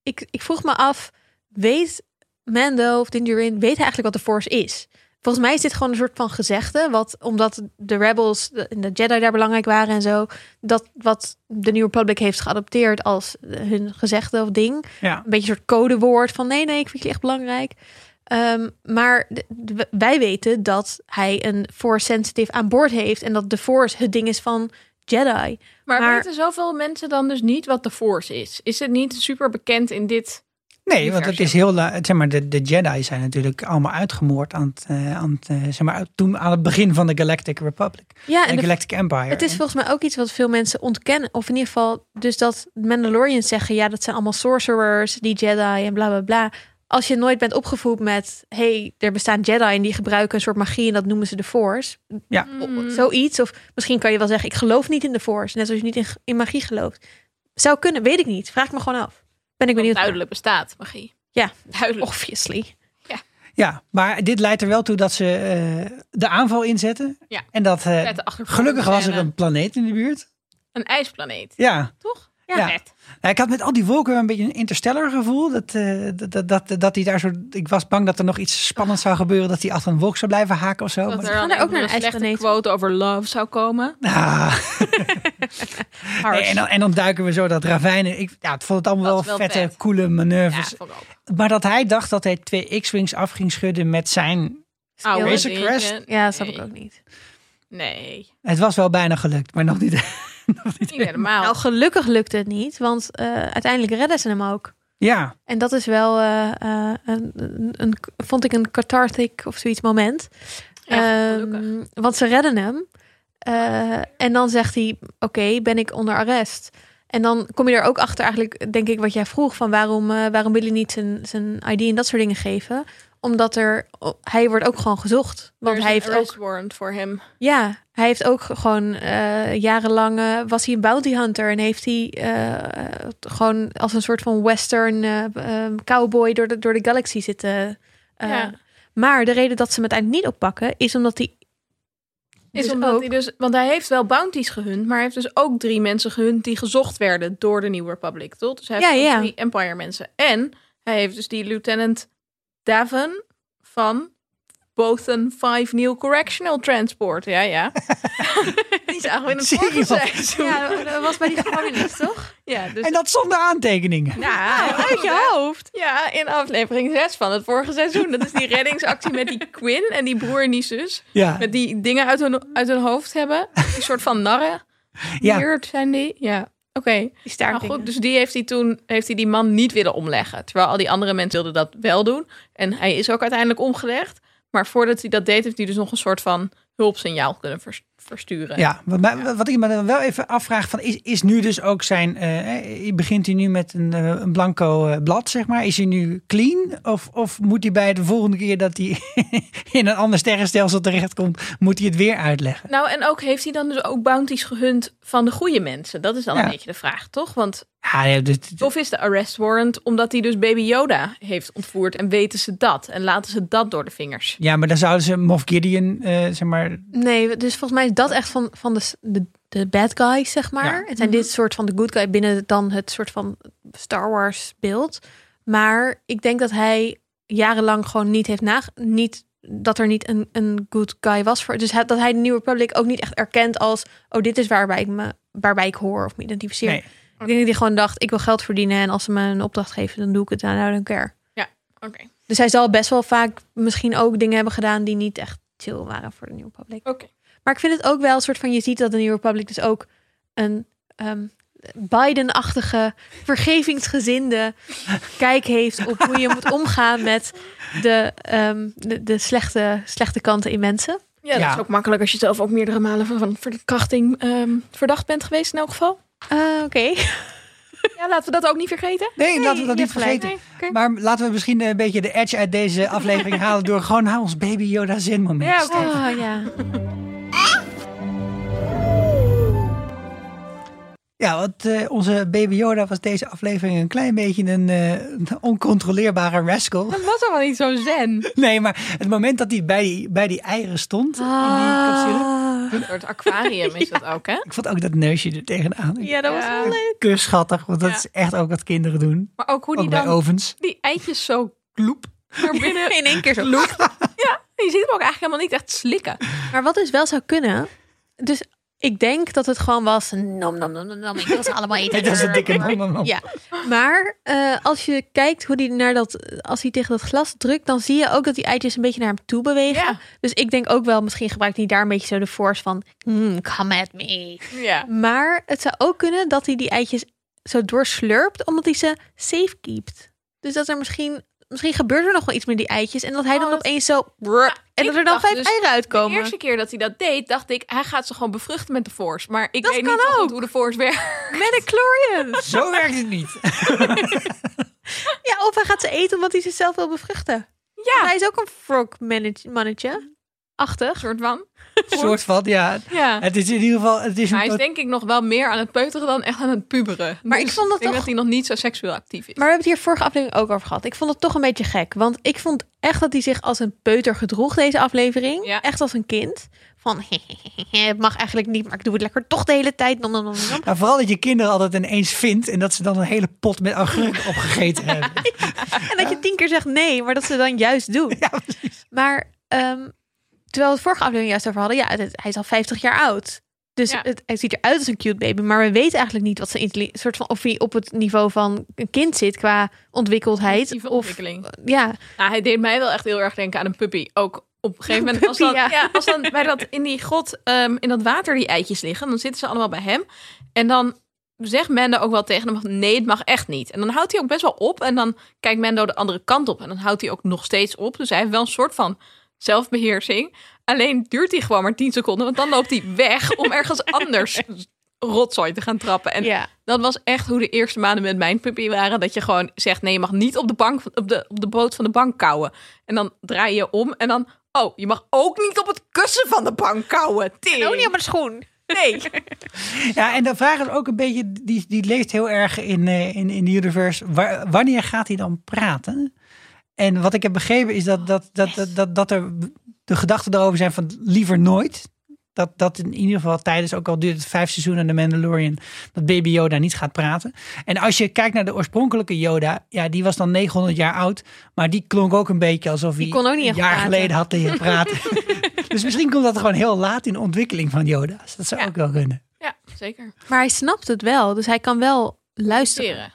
ik, ik vroeg me af, weet Mando of Din Djarin, weet hij eigenlijk wat de Force is? Volgens mij is dit gewoon een soort van gezegde, wat omdat de Rebels en de Jedi daar belangrijk waren en zo, dat wat de New Republic heeft geadopteerd als hun gezegde of ding. Ja. Een beetje een soort codewoord van nee, nee, ik vind je echt belangrijk. Ehm, maar de- de- wij weten dat hij een Force sensitive aan boord heeft en dat de Force het ding is van Jedi. Maar, Maar- weten zoveel mensen dan dus niet wat de Force is? Is het niet super bekend in dit? Nee, want het Universum. is heel... la- het- Zeg maar, de, de Jedi zijn natuurlijk allemaal uitgemoord aan het, eh, aan het, eh, zeg maar, uit- toen, aan het begin van de Galactic Republic. Ja, de, en de Galactic Empire. Het is volgens mij ook iets wat veel mensen ontkennen. Of in ieder geval, dus dat Mandalorians zeggen: ja, dat zijn allemaal sorcerers, die Jedi en bla bla bla. Als je nooit bent opgevoed met: hey, er bestaan Jedi en die gebruiken een soort magie en dat noemen ze de Force. Ja. Mm. O- Zoiets. Of misschien kan je wel zeggen: ik geloof niet in de Force. Net als je niet in, in magie gelooft. Zou kunnen, weet ik niet. Vraag ik me gewoon af. Ben ik Wat benieuwd. naar. duidelijk bestaat, magie. Ja, Duidelijk. obviously. Ja, maar dit leidt er wel toe dat ze eh, de aanval inzetten. Ja. En dat eh, Vette achtergrond. gelukkig was er Scène. een planeet in de buurt. Een ijsplaneet, Ja. toch? Ja. Vet. Nou, ik had met al die wolken wel een beetje een interstellar gevoel. Dat, eh, dat, dat, dat, dat die daar zo. Ik was bang dat er nog iets spannends zou gebeuren. Dat hij achter een wolk zou blijven haken of zo. Dat Maar- er gaan dan daar ook ook naar naar een een slechte ijsplaneet. quote over love zou komen. Ah, nee, en, dan, en dan duiken we zo dat ravijn. in. Ik ja, het vond het allemaal Dat wel, is wel vette, vet. coole Ja, manoeuvres. vond ik ook. Maar dat hij dacht dat hij twee X-Wings af ging schudden met zijn. Oude Razor dingen. Crest? Ja, dat snap Ah, Nee. ik ook niet. Nee, Het was wel bijna gelukt, maar nog niet. niet helemaal. Nou, gelukkig lukt het niet, want eh, uiteindelijk redden ze hem ook. Ja, En dat is wel, eh, eh, een, een, een- vond ik een cathartic of zoiets moment. Ja, Ehm, gelukkig. want ze redden hem. Eh, en dan zegt hij, oké, ben ik onder arrest? En dan kom je er ook achter eigenlijk, denk ik, wat jij vroeg. Van waarom, eh, waarom wil je niet zijn, zijn ID en dat soort dingen geven? Omdat er, oh, hij wordt ook gewoon gezocht. Want Er is hij een heeft ook, arrest warrant voor hem. ja, hij heeft ook gewoon eh, jarenlang, eh, was hij een bounty hunter. En heeft hij eh, gewoon als een soort van western eh, eh, cowboy door de, door de galaxy zitten. eh. Ja. Maar de reden dat ze hem uiteindelijk niet oppakken, is omdat hij Is Dus omdat ook- hij dus, want hij heeft wel bounties gehunt, maar hij heeft dus ook drie mensen gehunt die gezocht werden door de New Republic, toch? Dus hij heeft Ja, ook ja. drie Empire mensen. En hij heeft dus die lieutenant Davin van Bothan 5 New Correctional Transport. Ja, ja. die zagen we in het Zie je vorige wel. seizoen. Ja, Ja, dat was bij die gevangenis, toch? dus en dat zonder aantekeningen. ja, Oh, Uit je hoofd. ja, in aflevering 6 van het vorige seizoen. Dat is die reddingsactie met die Quinn en die broer en die zus. Ja. Met die dingen uit hun, uit hun hoofd hebben. Een soort van narren. Ja. Weird zijn die. Ja, oké. Die Nou goed, dus die heeft hij toen heeft hij die man niet willen omleggen. Terwijl al die andere mensen wilden dat wel doen. En hij is ook uiteindelijk omgelegd. Maar voordat hij dat deed, heeft hij dus nog een soort van hulpsignaal kunnen vers- versturen. Ja, wat, mij- wat ik me dan wel even afvraag, van, is, is nu dus ook zijn... eh, eh, begint hij nu met een, eh, een blanco eh, blad, zeg maar? Is hij nu clean? Of, of moet hij bij de volgende keer dat hij in een ander sterrenstelsel terechtkomt... moet hij het weer uitleggen? Nou, en ook heeft hij dan dus ook bounties gehunt van de goede mensen? Dat is dan Ja. een beetje de vraag, toch? Want Ja, ja, dit- dit- of is de arrest warrant omdat hij dus baby Yoda heeft ontvoerd en weten ze dat en laten ze dat door de vingers? ja maar dan zouden ze Moff Gideon, eh, zeg maar... Nee, dus volgens mij is dat echt van, van de, s- de, de bad guys, zeg maar. Ja. Mhm. En zijn dit soort van de good guy binnen dan het soort van Star Wars beeld. Maar ik denk dat hij jarenlang gewoon niet heeft nage... Niet, dat er niet een, een good guy was. Voor, dus hij- dat hij de New Republic ook niet echt erkent als... Oh, dit is waarbij ik, me, waarbij ik hoor of me identificeer. Nee. Ik denk dat hij gewoon dacht, ik wil geld verdienen. En als ze me een opdracht geven, dan doe ik het. Nou, I don't care. Oké. Dus hij zal best wel vaak misschien ook dingen hebben gedaan... die niet echt chill waren voor de New Republic. Oké. Maar ik vind het ook wel een soort van, je ziet dat de New Republic dus ook een ehm, Biden-achtige, vergevingsgezinde kijk heeft op hoe je moet omgaan met de, ehm, de, de slechte, slechte kanten in mensen. Ja, dat Ja. is ook makkelijk als je zelf ook meerdere malen van- van verkrachting ehm, verdacht bent geweest in elk geval. Eh, Oké. Ja, laten we dat ook niet vergeten. Nee, laten we dat je niet hebt gelijk. vergeten. oké. Maar laten we misschien eh, een beetje de edge uit deze aflevering halen... door gewoon naar ons baby Yoda zen moment. Ja, oké. Oh ja. Ja, want eh, onze baby Yoda was deze aflevering een klein beetje een, eh, een oncontroleerbare rascal. Dat was allemaal niet zo zen. Nee, maar het moment dat hij bij die, bij die eieren stond in die capsule. Ah. Een soort aquarium is dat ook, hè? Ik vond ook dat neusje er tegenaan. Ja, dat was Ja. wel leuk. Kus schattig, want dat Ja. is echt ook wat kinderen doen. Maar ook hoe die Ook bij dan ovens. die eitjes zo gloep naar binnen. In één keer zo. Ja, je ziet hem ook eigenlijk helemaal niet echt slikken. Maar wat dus wel zou kunnen, dus ik denk dat het gewoon was, nom nom nom nom nom, ik wil ze allemaal eten. Dat is een dikke man. Ja, maar eh, als je kijkt hoe die naar dat, als hij tegen dat glas drukt, dan zie je ook dat die eitjes een beetje naar hem toe bewegen. Ja. Dus ik denk ook wel, misschien gebruikt hij daar een beetje zo de force van, "Hmm, come at me. Ja. Maar het zou ook kunnen dat hij die eitjes zo doorslurpt, omdat hij ze safe keept. Dus dat er misschien, misschien gebeurt er nog wel iets met die eitjes en dat hij Oh, dan dat- opeens zo, en dat ik er dan dacht vijf dus eieren De uitkomen. eerste keer dat hij dat deed, dacht ik, hij gaat ze gewoon bevruchten met de force. Maar ik Dat weet kan niet zo goed ook. hoe de force werkt. Midichlorians. Zo werkt het niet. Ja, of hij gaat ze eten omdat hij zichzelf wil bevruchten. Ja, Hij een is ook een frog manage- mannetje. Achtig. soort van. Een soort van, ja. Ja. Het is in ieder geval... Het is een Maar hij is tot- denk ik nog wel meer aan het peuteren dan echt aan het puberen. Maar Dus ik vond dat denk toch- dat hij nog niet zo seksueel actief is. Maar we hebben het hier vorige aflevering ook over gehad. Ik vond het toch een beetje gek. Want ik vond echt dat hij zich als een peuter gedroeg deze aflevering. Ja. Echt als een kind. Van, het mag eigenlijk niet, maar ik doe het lekker toch de hele tijd. Nom, nom, nom, nom. Nou, vooral dat je kinderen altijd ineens vindt en dat ze dan een hele pot met augurken opgegeten hebben. En dat je tien keer zegt nee, maar dat ze dan juist doen. Ja, precies. Maar ehm, terwijl we het vorige aflevering juist over hadden, ja, het- hij is al 50 jaar oud. Dus Ja. het, hij ziet eruit als een cute baby, maar we weten eigenlijk niet wat zijn intelli- soort van of hij op het niveau van een kind zit qua ontwikkeldheid. Cognitieve Of ontwikkeling. ja, Nou, hij deed mij wel echt heel erg denken aan een puppy. Ook op een gegeven moment, als, dan, Puppy, ja. ja. als dan bij dat in die grot, ehm, in dat water die eitjes liggen, dan zitten ze allemaal bij hem. En dan zegt Mendo ook wel tegen hem, van, nee, het mag echt niet. En dan houdt hij ook best wel op en dan kijkt Mendo de andere kant op. En dan houdt hij ook nog steeds op. Dus hij heeft wel een soort van zelfbeheersing. Alleen duurt hij gewoon maar 10 seconden, want dan loopt hij weg om ergens anders rotzooi te gaan trappen. En ja. dat was echt hoe de eerste maanden met mijn puppy waren. Dat je gewoon zegt, nee, je mag niet op de, bank, op de, op de boot van de bank kauwen. En dan draai je om en dan... Oh, je mag ook niet op het kussen van de bank kauwen. Tering. ook niet op mijn schoen. Oh, Nee. Ja, en de vraag is ook een beetje, die, die leeft heel erg in, eh, in, in de universe. Wa- wanneer gaat hij dan praten? En wat ik heb begrepen is dat, dat, dat, dat, dat, dat er de gedachten erover zijn van liever nooit. Dat, dat in ieder geval tijdens, ook al duurt het vijf seizoenen aan de Mandalorian, dat baby Yoda niet gaat praten. En als je kijkt naar de oorspronkelijke Yoda, ja, die was dan 900 jaar oud. Maar die klonk ook een beetje alsof hij kon ook niet een echt jaar praten. geleden had leren praten. dus misschien komt dat gewoon heel laat in de ontwikkeling van Yoda. Dus dat zou Ja. ook wel kunnen. Ja, zeker. Maar hij snapt het wel, dus hij kan wel luisteren. Teren.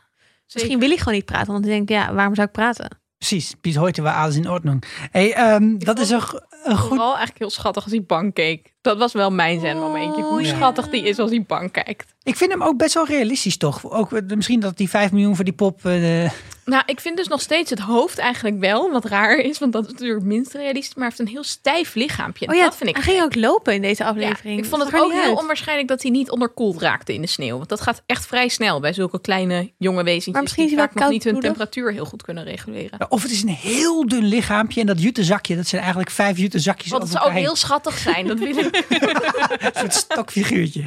Misschien wil hij gewoon niet praten, want hij denkt, ja, waarom zou ik praten? Precies, bis heute war alles in Ordnung. Hey, ehm, dat vond is een, go- een goed. Vooral eigenlijk heel schattig als hij bank keek. Dat was wel mijn zenmomentje. Hoe ja. schattig die is als hij bang kijkt. Ik vind hem ook best wel realistisch, toch? Ook, eh, misschien dat die 5 miljoen voor die pop... eh, Nou, ik vind dus nog steeds het hoofd eigenlijk wel, wat raar is, want dat is natuurlijk het minst realistisch, maar hij heeft een heel stijf lichaampje. En Oh ja, dat vind ik hij ging ook lopen in deze Ja, aflevering. ik vond het zag er ook niet heel uit. onwaarschijnlijk dat hij niet onderkoeld raakte in de sneeuw. Want dat gaat echt vrij snel bij zulke kleine jonge wezentjes. Maar misschien die is hij vaak wel nog niet hun koudbloedig. temperatuur heel goed kunnen reguleren. of het is een heel dun lichaampje en dat jute zakje. Dat zijn eigenlijk vijf jute zakjes Want het over zou ook elkaar heel schattig zijn. Dat wil ik. heen. Een soort stokfiguurtje.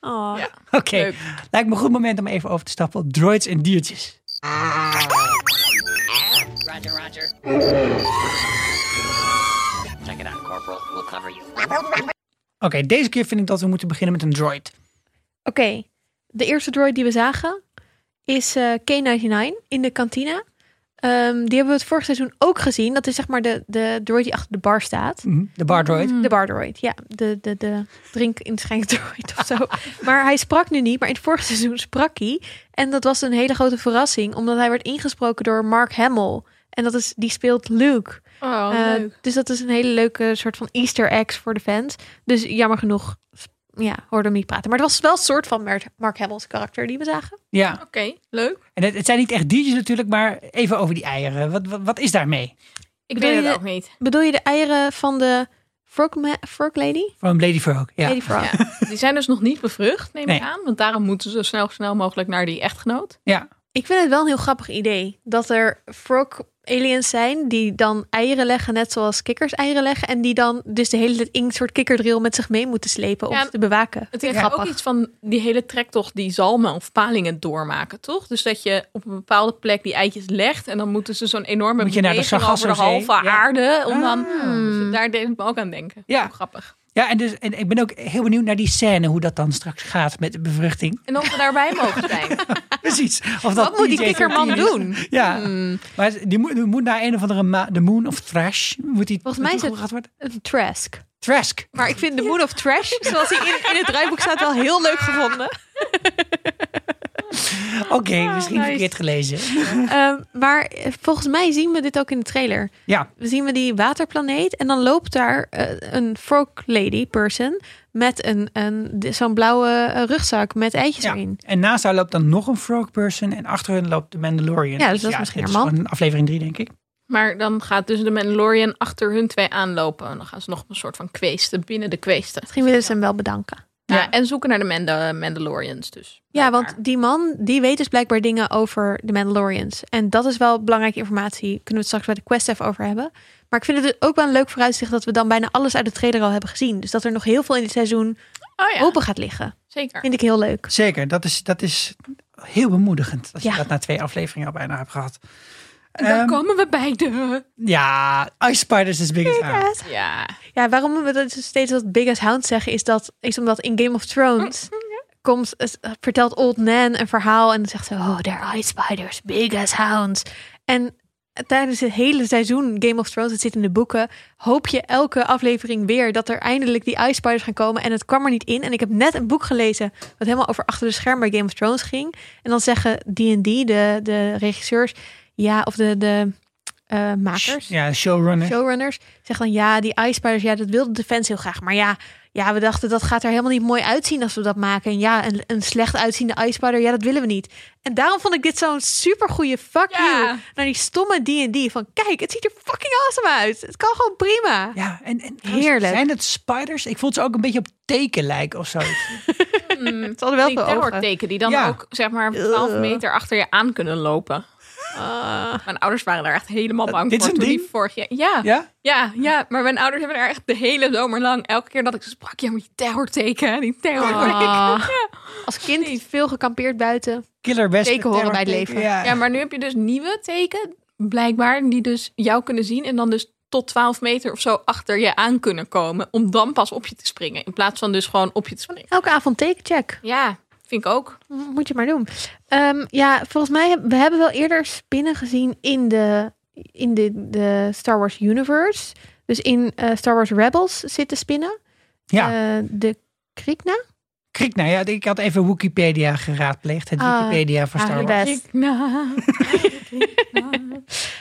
Oh. Ja. Oké, Leuk. lijkt me een goed moment om even over te stappen op droids en diertjes. Roger, roger. Check it out, Corporal. We'll cover you. Oké, deze keer vind ik dat we moeten beginnen met een droid. Oké, de eerste droid die we zagen is eh, K99 in de kantine. Ehm, die hebben we het vorig seizoen ook gezien. Dat is zeg maar de, de droid die achter de bar staat. De bar droid. Mm. De bar droid, ja. De, de, de drink droid of zo. maar hij sprak nu niet, maar in het vorige seizoen sprak hij. En dat was een hele grote verrassing, omdat hij werd ingesproken door Mark Hamill. En dat is, die speelt Luke. Oh, Eh, leuk. dus dat is een hele leuke soort van easter eggs voor de fans. Dus jammer genoeg, ja, hoorde hem niet praten. Maar het was wel een soort van Mer- Mark Hamill's karakter die we zagen. Ja, Oké, leuk. en het, het zijn niet echt diertjes natuurlijk, maar even over die eieren. Wat, wat, wat is daarmee? Ik Wil weet je het de- ook niet. Bedoel je de eieren van de Frog, ma- frog Lady? Van Lady Frog. Ja. Lady Frog. Die zijn dus nog niet bevrucht, neem Nee. ik aan. Want daarom moeten ze zo snel, snel mogelijk naar die echtgenoot. ja. Ik vind het wel een heel grappig idee dat er frog aliens zijn die dan eieren leggen, net zoals kikkers eieren leggen. En die dan dus de hele tijd een soort kikkerdrill met zich mee moeten slepen om Ja, ze te bewaken. Het heeft Grappig. ook iets van die hele trektocht die zalmen of palingen doormaken, toch? Dus dat je op een bepaalde plek die eitjes legt en dan moeten ze zo'n enorme Moet je naar de beweging over de Sargassozee? halve Ja. aarde om dan... Ah. Dus daar deed het me ook aan denken. Ja. Hoe grappig. Ja, en, dus, en ik ben ook heel benieuwd naar die scène, hoe dat dan straks gaat met de bevruchting. En of we daarbij mogen zijn. Precies. Of dat Wat moet die TJ13 kikkerman is. doen? Ja, Hmm. maar die moet, die moet naar een of andere ma- de Moon of Thrash. Moet die Volgens mij is het- toegebracht worden? Een Trask. Trask. Maar ik vind de Moon of Trash, zoals hij in, in het draaiboek staat, wel heel leuk gevonden. Oké, misschien Ah, nice. verkeerd gelezen. Ehm, maar eh, volgens mij zien we dit ook in de trailer. Ja, We zien we die waterplaneet en dan loopt daar eh, een frog lady person met een, een, de- zo'n blauwe eh, rugzak met eitjes ja. erin. En naast haar loopt dan nog een Frog Person en achter hen loopt de Mandalorian. Ja, dus dat is misschien dit haar man. gewoon aflevering 3, denk ik. Maar dan gaat dus de Mandalorian achter hun twee aanlopen. En dan gaan ze nog op een soort van kweesten binnen de kweesten. Misschien willen ze hem wel bedanken. Ja. en zoeken naar de Manda- Mandalorians dus. Ja, want die man die weet dus blijkbaar dingen over de Mandalorians. En dat is wel belangrijke informatie. Kunnen we het straks bij de quest even over hebben. Maar ik vind het dus ook wel een leuk vooruitzicht dat we dan bijna alles uit de trailer al hebben gezien. Dus dat er nog heel veel in dit seizoen Oh ja, open gaat liggen. zeker. Vind ik heel leuk. Zeker, dat is, dat is heel bemoedigend. Als Ja. je dat na twee afleveringen al bijna hebt gehad. En dan Ehm, komen we bij de... Ja, Ice Spiders is big as hell. Ja, Ja, waarom we dat dus steeds dat Big as Hound zeggen is dat is omdat in Game of Thrones komt het- vertelt Old Nan een verhaal en dan zegt ze oh they're eye spiders big as hounds en tijdens het hele seizoen Game of Thrones het zit in de boeken hoop je elke aflevering weer dat er eindelijk die eye spiders gaan komen en het kwam er niet in en ik heb net een boek gelezen wat helemaal over achter de schermen bij Game of Thrones ging en dan zeggen D&D de, de regisseurs ja of de, de eh, makers Ja, showrunner. showrunners zeggen dan ja, die Ice Spiders, ja, dat wilde de fans heel graag. Maar ja, ja, we dachten dat gaat er helemaal niet mooi uitzien als we dat maken. En ja, een, een slecht uitziende Ice Spider, ja, dat willen we niet. En daarom vond ik dit zo'n super goede fuck Ja. you naar die stomme D&D van kijk, het ziet er fucking awesome uit. Het kan gewoon prima. Ja, en, en trouwens, Heerlijk. zijn het spiders? Ik vond ze ook een beetje op teken lijken of zo. Het hadden wel die veel ogen. terrorteken die dan Ja. ook zeg maar 12 meter achter je aan kunnen lopen. Ah, Mijn ouders waren daar echt helemaal bang Eh, dit is voor een toen die ding? vorig jaar... Ja, ja, ja? ja, maar mijn ouders hebben daar echt de hele zomer lang... elke keer dat ik ze sprak, ja, maar die terrorteken, die terrorteken. Ah. Ja. Als kind veel gekampeerd buiten. Killer best. Teken horen bij het terrorteken, leven. Ja. Ja, maar nu heb je dus nieuwe teken, blijkbaar, die dus jou kunnen zien en dan dus tot 12 meter of zo achter je aan kunnen komen om dan pas op je te springen in plaats van dus gewoon op je te springen. Elke avond tekencheck. Ja, vind ik ook. Moet je maar doen. Ehm, ja, volgens mij heb- we hebben wel eerder spinnen gezien in de, in de, de Star Wars universe. Dus in eh, Star Wars Rebels zitten spinnen. ja. Eh, de Krikna. Krik, nou ja, ik had even Wikipedia geraadpleegd. Het Ah, Wikipedia voor ah, Star Wars. best. nou.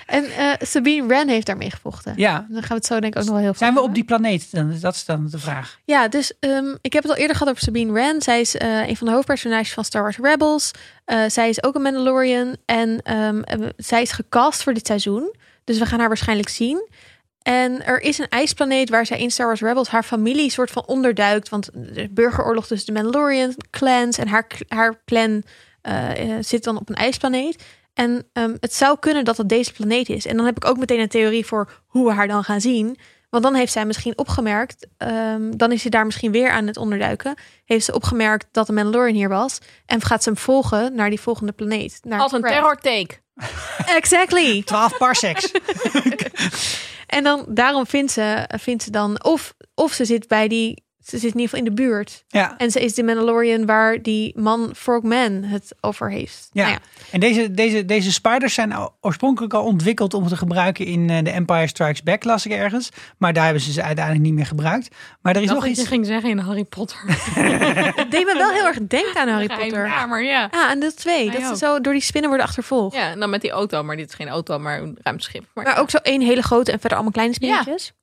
En eh, Sabine Wren heeft daarmee gevochten. Ja. Dan gaan we het zo denk ik ook nog wel heel veel Zijn we over op die planeet? Dan, dat is dan de vraag. Ja, dus ehm, ik heb het al eerder gehad over Sabine Wren. Zij is eh, een van de hoofdpersonages van Star Wars Rebels. Eh, zij is ook een Mandalorian. En ehm, eh, zij is gecast voor dit seizoen. Dus we gaan haar waarschijnlijk zien. En er is een ijsplaneet waar zij in Star Wars Rebels haar familie soort van onderduikt. Want de burgeroorlog tussen de Mandalorian clans en haar, haar clan eh, eh, zit dan op een ijsplaneet. En ehm, het zou kunnen dat dat deze planeet is. En dan heb ik ook meteen een theorie voor hoe we haar dan gaan zien. Want dan heeft zij misschien opgemerkt, ehm, dan is ze daar misschien weer aan het onderduiken. Heeft ze opgemerkt dat de Mandalorian hier was. En gaat ze hem volgen naar die volgende planeet. Naar Als een Crest. terror take. Exactly. 12 parsecs. En dan daarom vindt ze, vindt ze dan, of, of ze zit bij die, ze zit in ieder geval in de buurt. Ja. En ze is de Mandalorian waar die man Frogman het over heeft. Ja. Nou ja. En deze, deze, deze spiders zijn o- oorspronkelijk al ontwikkeld om te gebruiken in eh, The Empire Strikes Back, las ik ergens. Maar daar hebben ze ze uiteindelijk niet meer gebruikt. Maar er is Dat nog wat je iets. ging zeggen in Harry Potter. Het deed me wel heel erg denken aan Harry Potter. Ja, maar ja. Ja, en deel 2. Mij Dat ze ook. zo door die spinnen worden achtervolgd. Ja, en dan met die auto. Maar dit is geen auto, maar een ruimteschip. Maar, Maar ook zo één hele grote en verder allemaal kleine spinnetjes.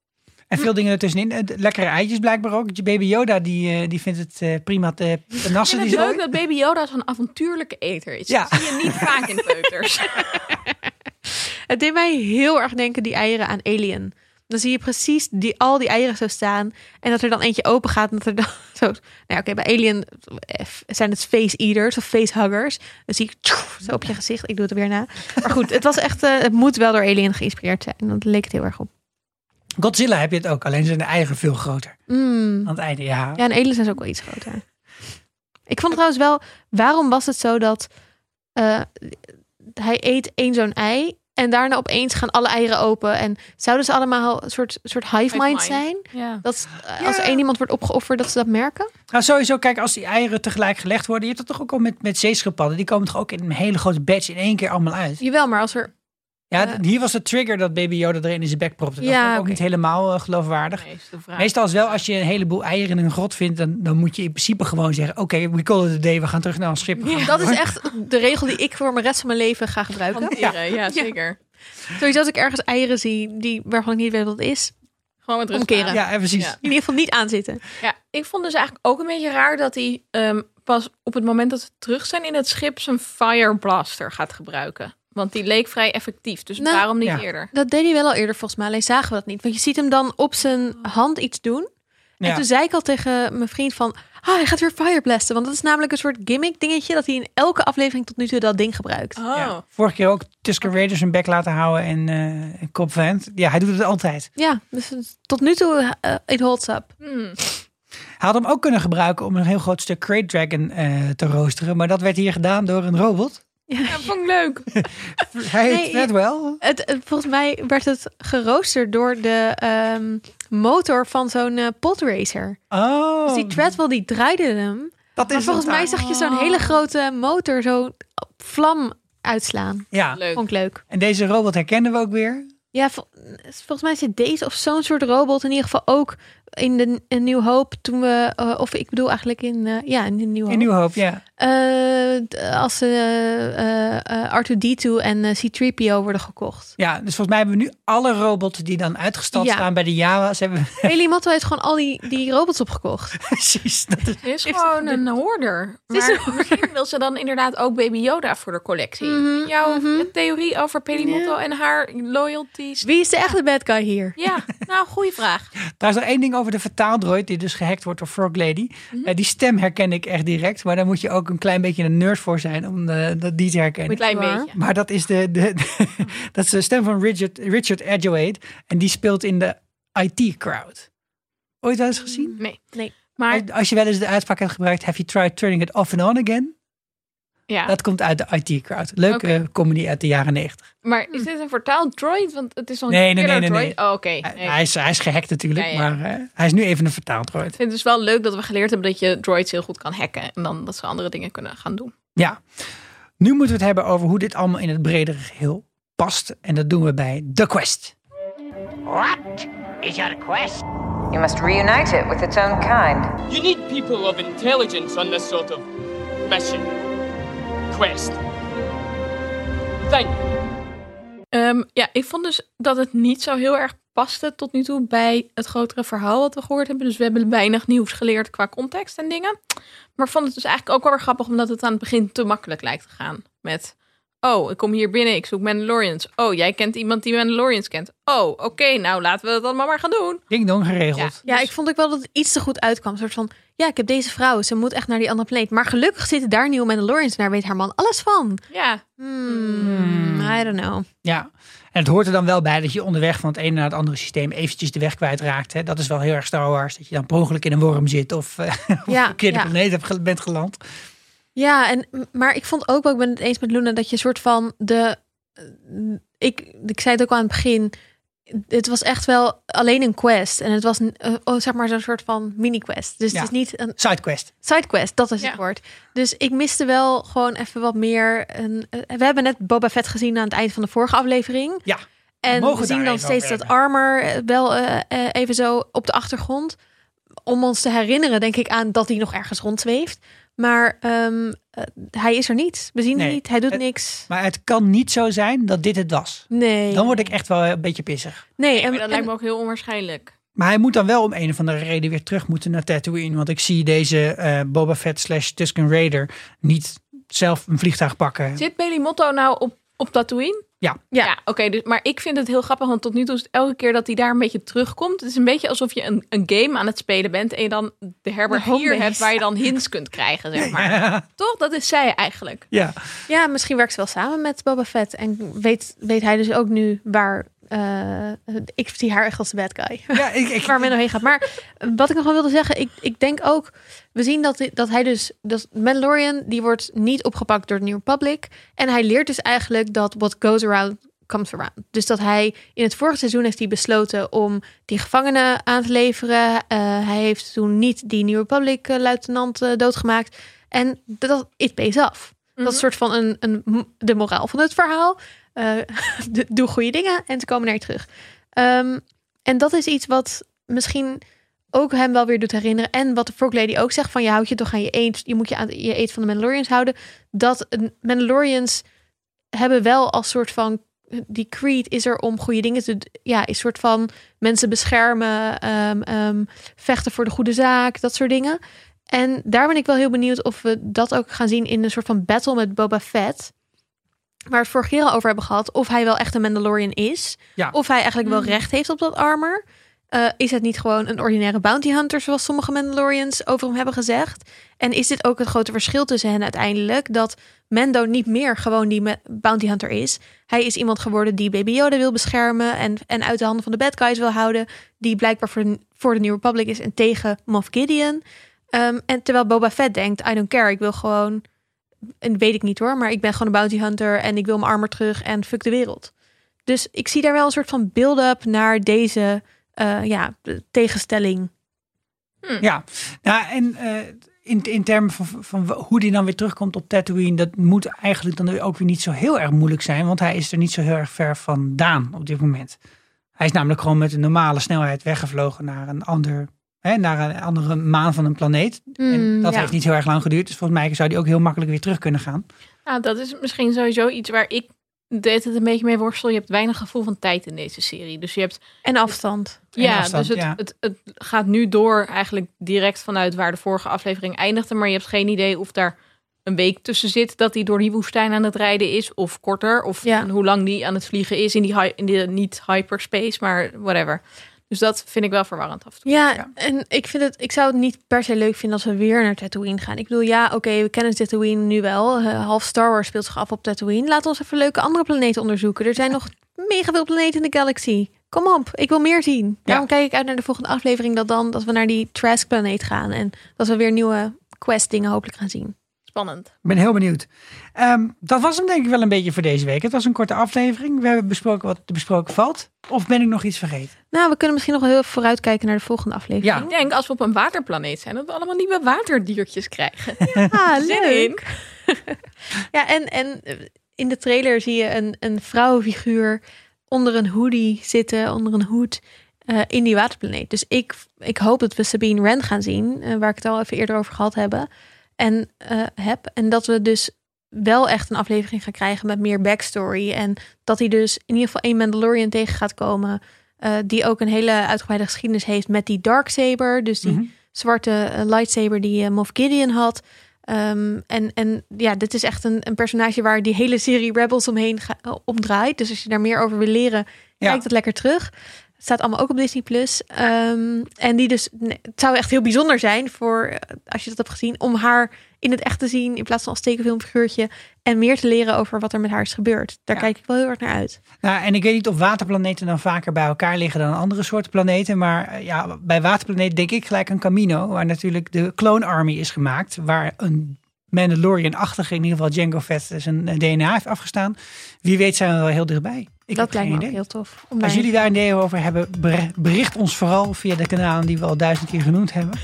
En veel dingen ertussenin. Eh, d- Lekkere eitjes blijkbaar ook. Baby Yoda die, eh, die vindt het eh, prima te te Ik nassen. vind Die het zo- leuk dat Baby Yoda zo'n avontuurlijke eter is. Ja. Dat zie je niet vaak in peuters. Het deed mij heel erg denken, die eieren, aan Alien. Dan zie je precies die, al die eieren zo staan. En dat er dan eentje open gaat. En dat er dan zo... Nou ja, oké, bij Alien eh, f- zijn het face-eaters of face-huggers. Dan zie ik tjoef, zo op je gezicht. Ik doe het er weer na. Maar goed, het was echt... eh, het moet wel door Alien geïnspireerd zijn. Dat leek het heel erg op. Godzilla heb je het ook, alleen zijn de eieren veel groter. Mm. Aan het einde, ja. Ja, en Alien zijn ze ook wel iets groter. Ik vond trouwens wel... Waarom was het zo dat... eh, hij eet één zo'n ei... En daarna opeens gaan alle eieren open. En zouden ze allemaal een soort, soort hive Hive mind mind. zijn? Ja. Dat s- als er één iemand wordt opgeofferd, dat ze dat merken. Nou, sowieso, kijk, als die eieren tegelijk gelegd worden, je hebt dat toch ook al met, met zeeschildpadden. Die komen toch ook in een hele grote batch in één keer allemaal uit. Jawel, maar als er. Ja, Ja. d- hier was de trigger dat baby Yoda erin in zijn bek propte. Dat Ja, vond ik ook oké. niet helemaal eh, geloofwaardig. Nee, is de vraag. Meestal is wel, als je een heleboel eieren in een grot vindt, dan, dan moet je in principe gewoon zeggen, oké, we call it a day, we gaan terug naar ons schip. Dat is echt de regel die ik voor mijn rest van mijn leven ga gebruiken. Hanteren, ja, zeker. Sowieso als ik ergens eieren zie die, waarvan ik niet weet wat het is. Gewoon met rust Omkeren. aan. Ja, eh, precies. Ja. In ieder geval niet aanzitten. Ja, ik vond dus eigenlijk ook een beetje raar dat hij ehm, pas op het moment dat we terug zijn in het schip zijn fire blaster gaat gebruiken. Want die leek vrij effectief, dus Nou, waarom niet ja. eerder? Dat deed hij wel al eerder volgens mij, alleen zagen we dat niet. Want je ziet hem dan op zijn hand iets doen. En Ja. toen zei ik al tegen mijn vriend van... Ah, hij gaat weer fireblasten. Want dat is namelijk een soort gimmick dingetje... dat hij in elke aflevering tot nu toe dat ding gebruikt. Oh, Ja. Vorige keer ook Tusker Raiders hun bek laten houden en eh en Cobb Vanth. Ja, hij doet het altijd. Ja, dus tot nu toe, eh, it holds up. Hij had hem ook kunnen gebruiken om een heel groot stuk Crate Dragon eh, te roosteren. Maar dat werd hier gedaan door een robot. Ja, vond ik leuk. Hij Nee, heet net wel. Het, het- volgens mij werd het geroosterd door de ehm, motor van zo'n eh, podracer. Oh, Dus die Treadwell die draaide hem. dat Oh. maar is volgens het mij daar. zag je zo'n hele grote motor zo op vlam uitslaan. Ja, leuk. Vond ik leuk. en deze robot herkennen we ook weer. Ja, vol- volgens mij zit deze of zo'n soort robot in ieder geval ook in de in New Hope toen we... eh, of ik bedoel eigenlijk in... eh, ja, in de New Hope. In New Hope, ja. Eh, d- als eh, eh, eh, R2-D2 en eh, C-3PO worden gekocht. Ja, dus volgens mij hebben we nu alle robots die dan uitgestald Ja. staan bij de Jawa's. Hebben we Haley Motto heeft gewoon al die, die robots opgekocht. precies. Dat is, Het is gewoon een hoorder. is Maar een hoorder. misschien wil ze dan inderdaad ook Baby Yoda voor de collectie. Mhm, Jouw mhm. theorie over Pelimotto en haar loyalties. Wie is de echte bad guy hier? Ja, nou, goede vraag. daar is nog één ding over de vertaaldroid die dus gehackt wordt door Frog Lady. Mhm. Eh, die stem herken ik echt direct, maar daar moet je ook een klein beetje een nerd voor zijn om eh, dat die te herkennen. Een klein Mhm. waar. beetje. Maar dat is de, de, dat is de stem van Richard, Richard Edgewaite. En die speelt in de IT-crowd. Ooit wel eens gezien? Nee. Nee. Mm, Maar Als je wel eens de uitspraak hebt gebruikt, have you tried turning it off and on again? ja, Dat komt uit de IT-crowd. Leuke Oké. eh, comedy uit de jaren negentig. maar is dit een vertaald droid? Want het is al een Nee, nee, killer nee, nee, droid. Oh, oké. Hij- Nee. Hij, is, hij is gehackt natuurlijk, Ja, ja. maar eh, hij is nu even een vertaaldroid. Ik vind het dus wel leuk dat we geleerd hebben dat je droids heel goed kan hacken. En dan dat ze andere dingen kunnen gaan doen. Ja. Nu moeten we het hebben over hoe dit allemaal in het bredere geheel past. En dat doen we bij The Quest. What is your quest? You must reunite it with its own kind. You need people of intelligence on this sort of mission. Quest. Thing. Ehm, ja, ik vond dus dat het niet zo heel erg paste tot nu toe bij het grotere verhaal wat we gehoord hebben. Dus we hebben weinig nieuws geleerd qua context en dingen. Maar ik vond het dus eigenlijk ook wel weer grappig omdat het aan het begin te makkelijk lijkt te gaan. Met, oh, ik kom hier binnen, ik zoek Mandalorians. Oh, jij kent iemand die Mandalorians kent. Oh, oké, nou laten we dat allemaal maar gaan doen. dus, Ding dong geregeld. Ja, ik vond ook wel dat het iets te goed uitkwam. Een soort van, ja, ik heb deze vrouw, ze moet echt naar die andere planeet. Maar gelukkig zitten daar nieuwe Mandalorians en daar weet haar man alles van. Ja. Hmm, I don't know. Ja, en het hoort er dan wel bij dat je onderweg van het ene naar het andere systeem eventjes de weg kwijtraakt. Hè? Dat is wel heel erg Star Wars, dat je dan per ongeluk in een worm zit of, eh, of Ja, een verkeerde ja. planeet hebt ge- bent geland. Ja, en, maar ik vond ook wel, ik ben het eens met Luna, dat je een soort van de. eh, Ik, ik zei het ook al aan het begin. Het was echt wel alleen een quest. En het was een, eh, oh, zeg maar zo'n soort van mini-quest. Dus Ja. het is niet een Sidequest. sidequest, dat is Ja. het woord. Dus ik miste wel gewoon even wat meer. Een, eh, we hebben net Boba Fett gezien aan het eind van de vorige aflevering. Ja, En Mogen we, we daar zien dan even steeds over dat armor eh, wel eh, eh, even zo op de achtergrond. Om ons te herinneren, denk ik aan dat hij nog ergens rondzweeft. Maar ehm, eh, hij is er niet. We zien hem Nee. Eh, niet. Hij doet Het- niks. maar het kan niet zo zijn dat dit het was. Nee. Dan word ik echt wel een beetje pissig. Nee, en, Maar dat en- lijkt me ook heel onwaarschijnlijk. Maar hij moet dan wel om een of andere reden weer terug moeten naar Tatooine. Want ik zie deze eh, Boba Fett slash Tusken Raider niet zelf een vliegtuig pakken. Zit Bailey Motto nou op, op Tatooine? Ja. Ja, oké. dus, maar ik vind het heel grappig, want tot nu toe is het elke keer dat hij daar een beetje terugkomt. Het is een beetje alsof je een, een game aan het spelen bent en je dan de herberg De home hier base. hebt waar je dan hints kunt krijgen, zeg maar. Toch? Dat is zij eigenlijk. Ja, ja, misschien werkt ze wel samen met Boba Fett. En weet, weet hij dus ook nu waar. eh, ik zie haar echt als de bad guy. ja ik, ik, waar men heen gaat. Maar eh, wat ik nog wel wilde zeggen, ik, ik denk ook, we zien dat, dit- dat hij dus, dat Mandalorian, die wordt niet opgepakt door de New Republic. En hij leert dus eigenlijk dat what goes around comes around. Dus dat hij in het vorige seizoen heeft hij besloten om die gevangenen aan te leveren. Eh, hij heeft toen niet die New Republic eh, luitenant eh, doodgemaakt. En dat it pays af. Dat is soort van een, een, de moraal van het verhaal. Eh, de- doe goede dingen en ze komen naar je terug. Ehm, en dat is iets wat misschien ook hem wel weer doet herinneren. En wat de Frog Lady ook zegt: van je houdt je toch aan je eet. Je moet je aan je eet van de Mandalorians houden. Dat een- Mandalorians hebben wel als soort van. Die creed is er om goede dingen te. d- Ja, is soort van mensen beschermen, ehm, ehm, vechten voor de goede zaak, dat soort dingen. En daar ben ik wel heel benieuwd of we dat ook gaan zien in een soort van battle met Boba Fett. Waar we het vorige keer al over hebben gehad. Of hij wel echt een Mandalorian is. Ja. Of hij eigenlijk wel recht heeft op dat armor. Eh, is het niet gewoon een ordinaire bounty hunter, zoals sommige Mandalorians over hem hebben gezegd? En is dit ook het grote verschil tussen hen uiteindelijk? Dat Mendo niet meer gewoon die me- bounty hunter is. Hij is iemand geworden die Baby Yoda wil beschermen en, en uit de handen van de bad guys wil houden. Die blijkbaar voor de, voor de New Republic is en tegen Moff Gideon. Ehm, en terwijl Boba Fett denkt, I don't care, ik wil gewoon... En weet ik niet hoor, maar ik ben gewoon een bounty hunter en ik wil mijn armor terug en fuck de wereld. Dus ik zie daar wel een soort van build-up naar deze eh, ja, de tegenstelling. Ja, nou, en eh, in, in termen van, van hoe die dan weer terugkomt op Tatooine, dat moet eigenlijk dan ook weer niet zo heel erg moeilijk zijn, want hij is er niet zo heel erg ver vandaan op dit moment. Hij is namelijk gewoon met een normale snelheid weggevlogen naar een ander. Hè, naar een andere maan van een planeet. en Hmm, dat ja. heeft niet heel erg lang geduurd. Dus volgens mij zou die ook heel makkelijk weer terug kunnen gaan. Nou, dat is misschien sowieso iets waar ik deed het een beetje mee worstel. Je hebt weinig gevoel van tijd in deze serie. Dus je hebt En afstand. En Ja, afstand, dus het, ja. Het, het gaat nu door eigenlijk direct vanuit waar de vorige aflevering eindigde. Maar je hebt geen idee of daar een week tussen zit dat hij door die woestijn aan het rijden is. Of korter. Of Ja. hoe lang die aan het vliegen is in die, hy- in die niet hyperspace, maar whatever. Dus dat vind ik wel verwarrend af en toe. Ja, en ik, vind het, ik zou het niet per se leuk vinden als we weer naar Tatooine gaan. Ik bedoel, ja, oké, we kennen dus Tatooine nu wel. Eh, half Star Wars speelt zich af op Tatooine. Laat ons even leuke andere planeten onderzoeken. Er zijn nog mega veel planeten in de galaxy. Kom op, ik wil meer zien. Daarom kijk ik uit naar de volgende aflevering dat dan dat we naar die Trask planeet gaan en dat we weer nieuwe quest dingen hopelijk gaan zien. Spannend. Ik ben heel benieuwd. Ehm, dat was hem denk ik wel een beetje voor deze week. Het was een korte aflevering. We hebben besproken wat te besproken valt. Of ben ik nog iets vergeten? Nou, we kunnen misschien nog wel heel even vooruitkijken naar de volgende aflevering. Ik denk als we op een waterplaneet zijn, dat we allemaal nieuwe waterdiertjes krijgen. Ah, Zin in. leuk. ja, en, en eh, in de trailer zie je een, een vrouwenfiguur onder een hoodie zitten, onder een hoed. eh, eh, in die waterplaneet. Dus ik, ik hoop dat we Sabine Wren gaan zien, eh, waar ik het al even eerder over gehad hebben, en, eh, heb. En dat we dus wel echt een aflevering gaan krijgen met meer backstory. En dat hij dus in ieder geval één Mandalorian tegen gaat komen, eh, die ook een hele uitgebreide geschiedenis heeft met die Darksaber. Dus Mhm. die zwarte eh, lightsaber die eh, Moff Gideon had. Ehm, en, en ja, dit is echt een, een personage waar die hele serie Rebels omheen ga, eh, om draait. Dus als je daar meer over wil leren, kijk dat lekker terug. Het staat allemaal ook op Disney Plus. Ehm, en die dus, nee, het zou echt heel bijzonder zijn voor, eh, als je dat hebt gezien, om haar in het echt te zien in plaats van als tekenfilmfiguurtje. En meer te leren over wat er met haar is gebeurd. Daar kijk ik wel heel erg naar uit. Nou, en ik weet niet of waterplaneten dan vaker bij elkaar liggen dan andere soorten planeten. Maar eh, ja, bij waterplaneet denk ik gelijk aan Camino, waar natuurlijk de Clone Army is gemaakt. Waar een Mandalorian-achtige, in ieder geval Django Fett, zijn eh, DNA heeft afgestaan. Wie weet zijn we wel heel dichtbij. Ik dat heb geen lijkt me ook idee. heel tof. om Als daar- jullie daar een idee over hebben, ber- bericht ons vooral via de kanalen die we al duizend keer genoemd hebben.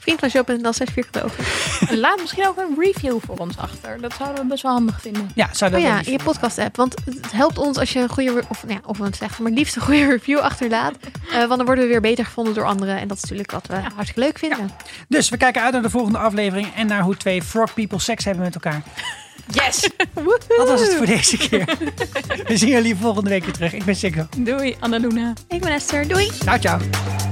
Vriend van Show.nl 64 gedoven. En laat misschien ook een review voor ons achter. Dat zouden we best wel handig vinden. Ja, zou dat Oh wel ja, lief in je podcast-app. Want het helpt ons als je een goede, re- of, nou ja, of een slechte, maar liefst een goede review achterlaat. Eh, want dan worden we weer beter gevonden door anderen. En dat is natuurlijk wat we hartstikke leuk vinden. Dus we kijken uit naar de volgende aflevering en naar hoe twee frog people seks hebben met elkaar. Yes! Dat was het voor deze keer. we zien jullie volgende week weer terug. Ik ben Sikko. Nou, Doei, Annaluna. Ik ben Esther. Doei! Ciao, ciao.